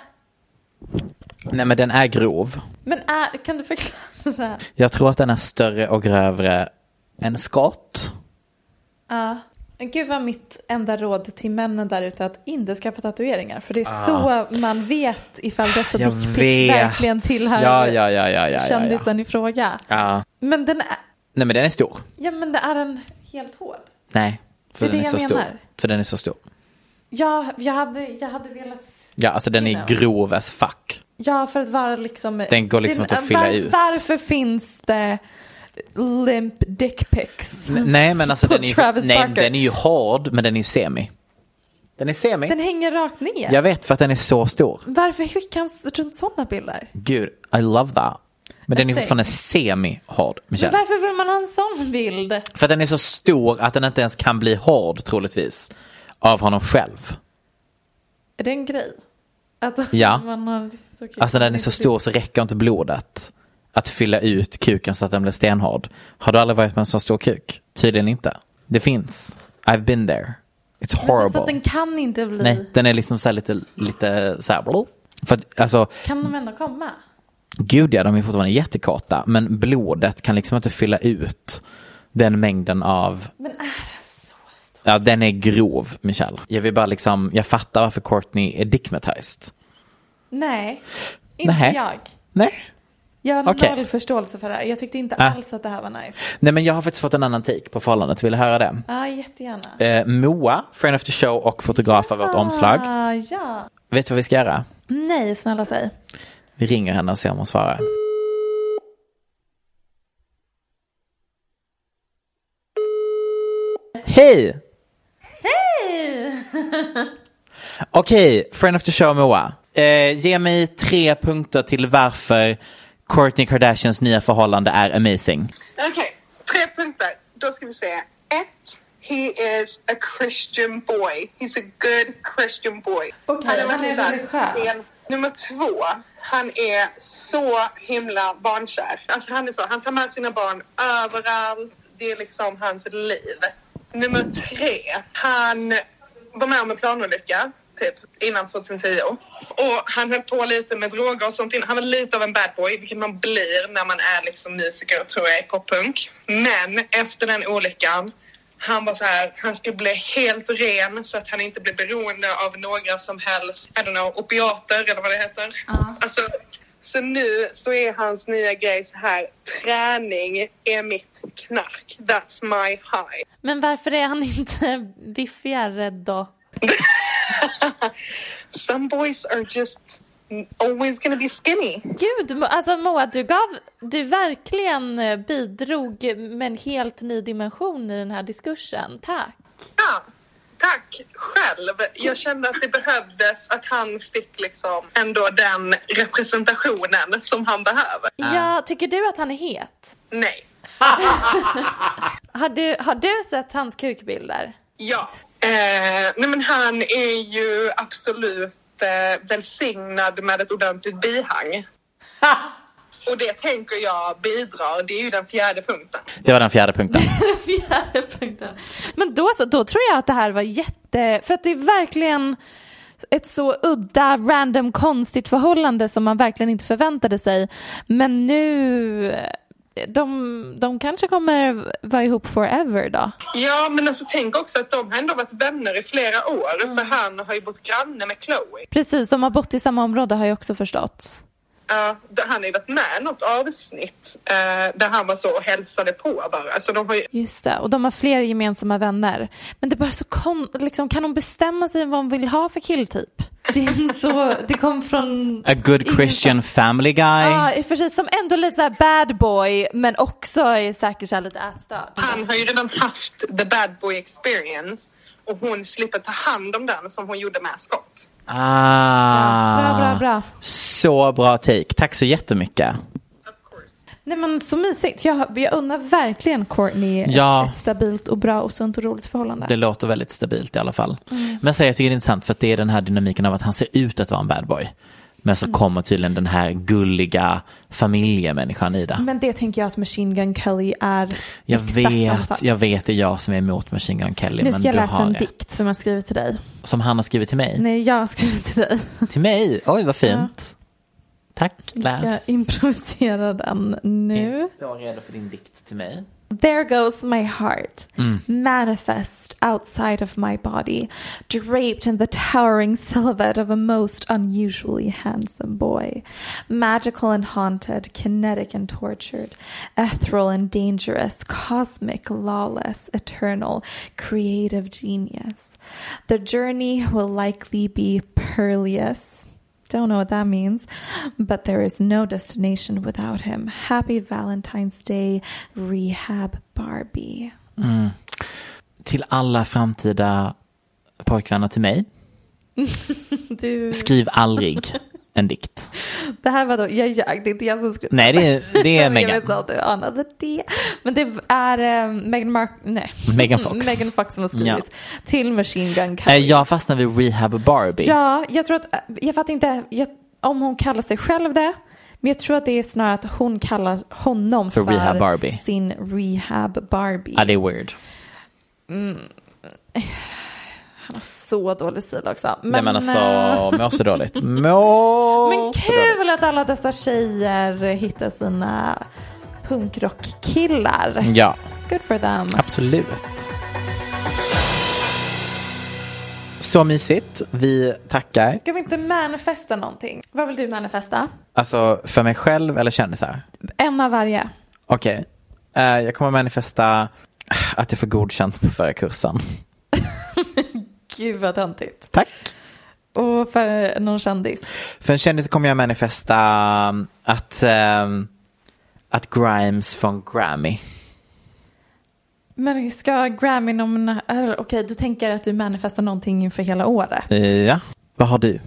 S3: Nej men den är grov.
S2: Men är, kan du förklara?
S3: Jag tror att den är större och grövre än skott.
S2: Ja. Gud vad mitt enda råd till männen där ute är att inte skaffa tatueringar. För det är så man vet ifall dessa
S3: Ah. Jag
S2: dickpics
S3: vet.
S2: verkligen tillhör
S3: Ja, ja, ja, ja, ja, ja, ja.
S2: kändisen i fråga.
S3: ja.
S2: Men den är,
S3: Nej men den är stor.
S2: ja men det är en helt hård.
S3: Nej, för
S2: Det är
S3: den
S2: det
S3: är så
S2: jag
S3: stor.
S2: menar.
S3: För den är så stor.
S2: Ja, jag hade, jag hade velat...
S3: Ja, alltså den är
S2: You know.
S3: grov as fuck.
S2: Ja, för att vara liksom...
S3: Den går liksom inte att fylla ut.
S2: Varför finns det limp dickpics?
S3: N- Nej, men alltså
S2: *laughs* På
S3: den är, ju,
S2: Travis
S3: nej,
S2: Barker.
S3: den är ju hård, men den är ju semi. Den är semi.
S2: Den hänger rakt ner.
S3: Jag vet för att den är så stor.
S2: Varför skickar han s- runt sådana bilder?
S3: Gud, I love that. Men den är
S2: Alltså-
S3: fortfarande semi-hård,
S2: Men
S3: Michelle.
S2: varför vill man ha en sån bild?
S3: För att den är så stor att den inte ens kan bli hård, troligtvis. Av honom själv.
S2: Är det en grej? Att
S3: Ja.
S2: *laughs* man har så kul.
S3: Alltså när den är så stor så räcker inte blodet att fylla ut kuken så att den blir stenhård. Har du aldrig varit med en så stor kuk? Tydligen inte. Det finns. I've been there. It's
S2: Så alltså, att
S3: horrible.
S2: den kan inte bli.
S3: Nej, den är liksom så här lite, lite så här. blå. För att, alltså,
S2: Kan de ändå komma?
S3: gud ja, de är fortfarande jättekorta. Men blodet kan liksom inte fylla ut den mängden av...
S2: Men är den så stor?
S3: Ja, den är grov, Michelle. Jag vill bara liksom, jag fattar varför Courtney är digmatized.
S2: Nej, inte
S3: Nähä.
S2: jag.
S3: Nej.
S2: Jag har
S3: Okej.
S2: noll förståelse för det här. Jag tyckte inte
S3: Ah.
S2: alls att det här var nice.
S3: Nej, men jag har faktiskt fått en annan take på förhållandet. Vill du höra det?
S2: Ja, jättegärna.
S3: Eh, Moa, friend of the show och fotograf av vårt omslag.
S2: Ah, ja.
S3: Vet du vad vi ska göra?
S2: Nej, snälla säg.
S3: Vi ringer henne och ser om hon svarar. Hej!
S2: Hej! *laughs*
S3: Okej, friend of the show Moa. Eh, ge mig tre punkter till varför Kourtney Kardashians nya förhållande är amazing.
S1: Okej, tre punkter. Då ska vi se. Ett, he is a Christian boy. He's a good Christian boy.
S2: Okej, han är
S1: verkligen så här
S2: religiös.
S1: sten- Nummer två, han är så himla barnkär. Alltså han är så, han tar med sina barn överallt. Det är liksom hans liv. Nummer tre, han var med om en planolycka typ innan 2010 och han höll på lite med droger och sånt. innan. Han var lite av en bad boy, vilket man blir när man är liksom musiker tror jag i poppunk. Men efter den olyckan Han var så här, han skulle bli helt ren så att han inte blir beroende av några som helst, I don't know, opiater eller vad det heter. Alltså, så nu så är hans nya grej så här, träning är mitt knark. That's my high.
S2: Men varför är han inte *laughs* biffigare då?
S1: Some boys are just always gonna be skinny.
S2: Gud, Mo- alltså Moa, du gav, du verkligen eh, bidrog med en helt ny dimension i den här diskursen. Tack.
S1: Ja, tack själv. Jag kände att det behövdes att han fick liksom ändå den representationen som han behöver.
S2: Ja, tycker du att han är het?
S1: Nej.
S2: Har du, har du sett hans kukbilder?
S1: Ja. Eh, nej men han är ju absolut eh, välsignad med ett ordentligt bihang. Och det tänker jag bidrar. Det är ju den fjärde punkten.
S3: Det var den fjärde punkten.
S2: Fjärde punkten. Men då så, då tror jag att det här var jätte, för att det är verkligen ett så udda, random, konstigt förhållande som man verkligen inte förväntade sig. Men nu, eh, de, de kanske kommer vara ihop forever då.
S1: Ja, men alltså tänk också att de har ändå varit vänner i flera år. För han har ju bott granne med Chloe.
S2: Precis, de har bott i samma område har jag också förstått.
S1: Ja, d- han har ju varit med i något avsnitt eh, där han var så och hälsade på bara. Alltså de har ju,
S2: Just det, och de har fler gemensamma vänner. Men det är bara så kon- liksom, kan hon bestämma sig vad hon vill ha för killtyp? Det, är en så, det kom från...
S3: A good Christian family guy.
S2: Ja, i och för sig som ändå lite så här bad boy men också är säkert så här lite ätstörd.
S1: han har ju redan haft the bad boy experience och hon slipper ta hand om den som hon gjorde med Scott.
S3: Ah.
S2: Bra, bra, bra.
S3: Så bra take. Tack så jättemycket.
S1: Of course.
S2: Nej men så mysigt. Jag, jag undrar verkligen Courtney
S3: Ja.
S2: ett, ett stabilt och bra och sunt och roligt förhållande.
S3: Det låter väldigt stabilt i alla fall.
S2: Mm.
S3: Men så, jag tycker det är intressant för att det är den här dynamiken av att han ser ut att vara en bad boy.
S2: Mm.
S3: Men så kommer tydligen den här gulliga familjemänniskan i det.
S4: Men det tänker jag att Machine Gun Kelly är
S3: Jag
S4: exakt samma
S3: vet,
S4: sak.
S3: jag vet det är jag som är emot Machine Gun Kelly.
S2: nu
S3: men
S2: ska jag
S3: du
S2: läsa
S3: har
S2: en
S3: rätt.
S2: dikt som jag skrivit till dig.
S3: Som han har skrivit till mig.
S2: Nej, jag har skrivit till dig.
S3: Till mig? Oj, vad fint. Tack,
S2: Jag
S3: läs.
S2: ska improvisera den nu.
S3: står redo för din dikt till mig.
S2: There goes my heart, manifest outside of my body, draped in the towering silhouette of a most unusually handsome boy. Magical and haunted, kinetic and tortured, ethereal and dangerous, cosmic, lawless, eternal, creative genius. The journey will likely be perilous. Don't know what that means, but there is no destination without him. Happy Valentine's Day, Rehab Barbie.
S3: Till alla framtida pojkvänner
S2: *laughs*
S3: till mig.
S2: Du,
S3: Skriv aldrig en dikt.
S2: det här var då, jag ljög, det är inte jag som skrev.
S3: Nej, det är, det
S2: *laughs* Jag
S3: är
S2: vet
S3: Megan.
S2: inte om du anade det. Men det är um, Megan Mark, nej. *laughs*
S3: Megan Fox.
S2: Megan Fox som har skrivit till Machine Gun
S3: Eh,
S2: Kelly.
S3: Jag fastnar vid Rehab Barbie.
S2: Ja, jag tror att, eh, jag fattar inte jag, om hon kallar sig själv det. Men jag tror att det är snarare att hon kallar honom
S3: För
S2: för,
S3: Rehab Barbie.
S2: sin Rehab Barbie.
S3: Ja, det är weird.
S2: Så dålig stil också. Men,
S3: Nej men
S2: eh,
S3: alltså, mår
S2: *laughs*
S3: så dåligt. Mår
S2: Men
S3: så dåligt.
S2: kul att alla dessa tjejer hittar sina punkrockkillar.
S3: Ja,
S2: Good for them.
S3: absolut. Så mysigt. Vi tackar.
S2: Ska vi inte manifesta någonting? Vad vill du manifesta?
S3: Alltså, för mig själv eller kändisar?
S2: En av varje.
S3: Okej. Eh, jag kommer manifesta att jag får godkänt på förra kursen.
S2: Gud vad töntigt.
S3: Tack.
S2: Och för någon kändis.
S3: För en kändis kommer jag manifesta um, att, ehm, att Grimes från Grammy.
S2: Men ska Grammy nomina... eller, Okej, du tänker att du manifestar någonting inför hela
S3: *laughs*
S2: året.
S3: Ja. Vad har du?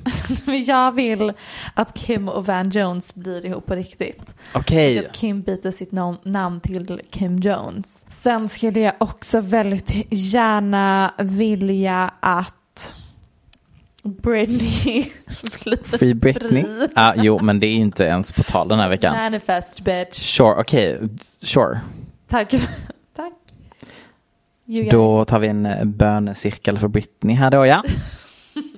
S2: Men jag vill att Kim och Van Jones blir ihop på riktigt.
S3: Okej.
S2: Att Kim byter sitt nam- namn till Kim Jones. Sen skulle jag också väldigt gärna vilja att Britney *laughs* blir
S3: Free Britney. Ah, jo, men det är ju inte ens på tal den här veckan.
S2: manifest bitch.
S3: Sure, okej. Sure.
S2: Tack. *laughs* Tack. You guys.
S3: Då tar vi en eh, bönecirkel för Britney här då, ja.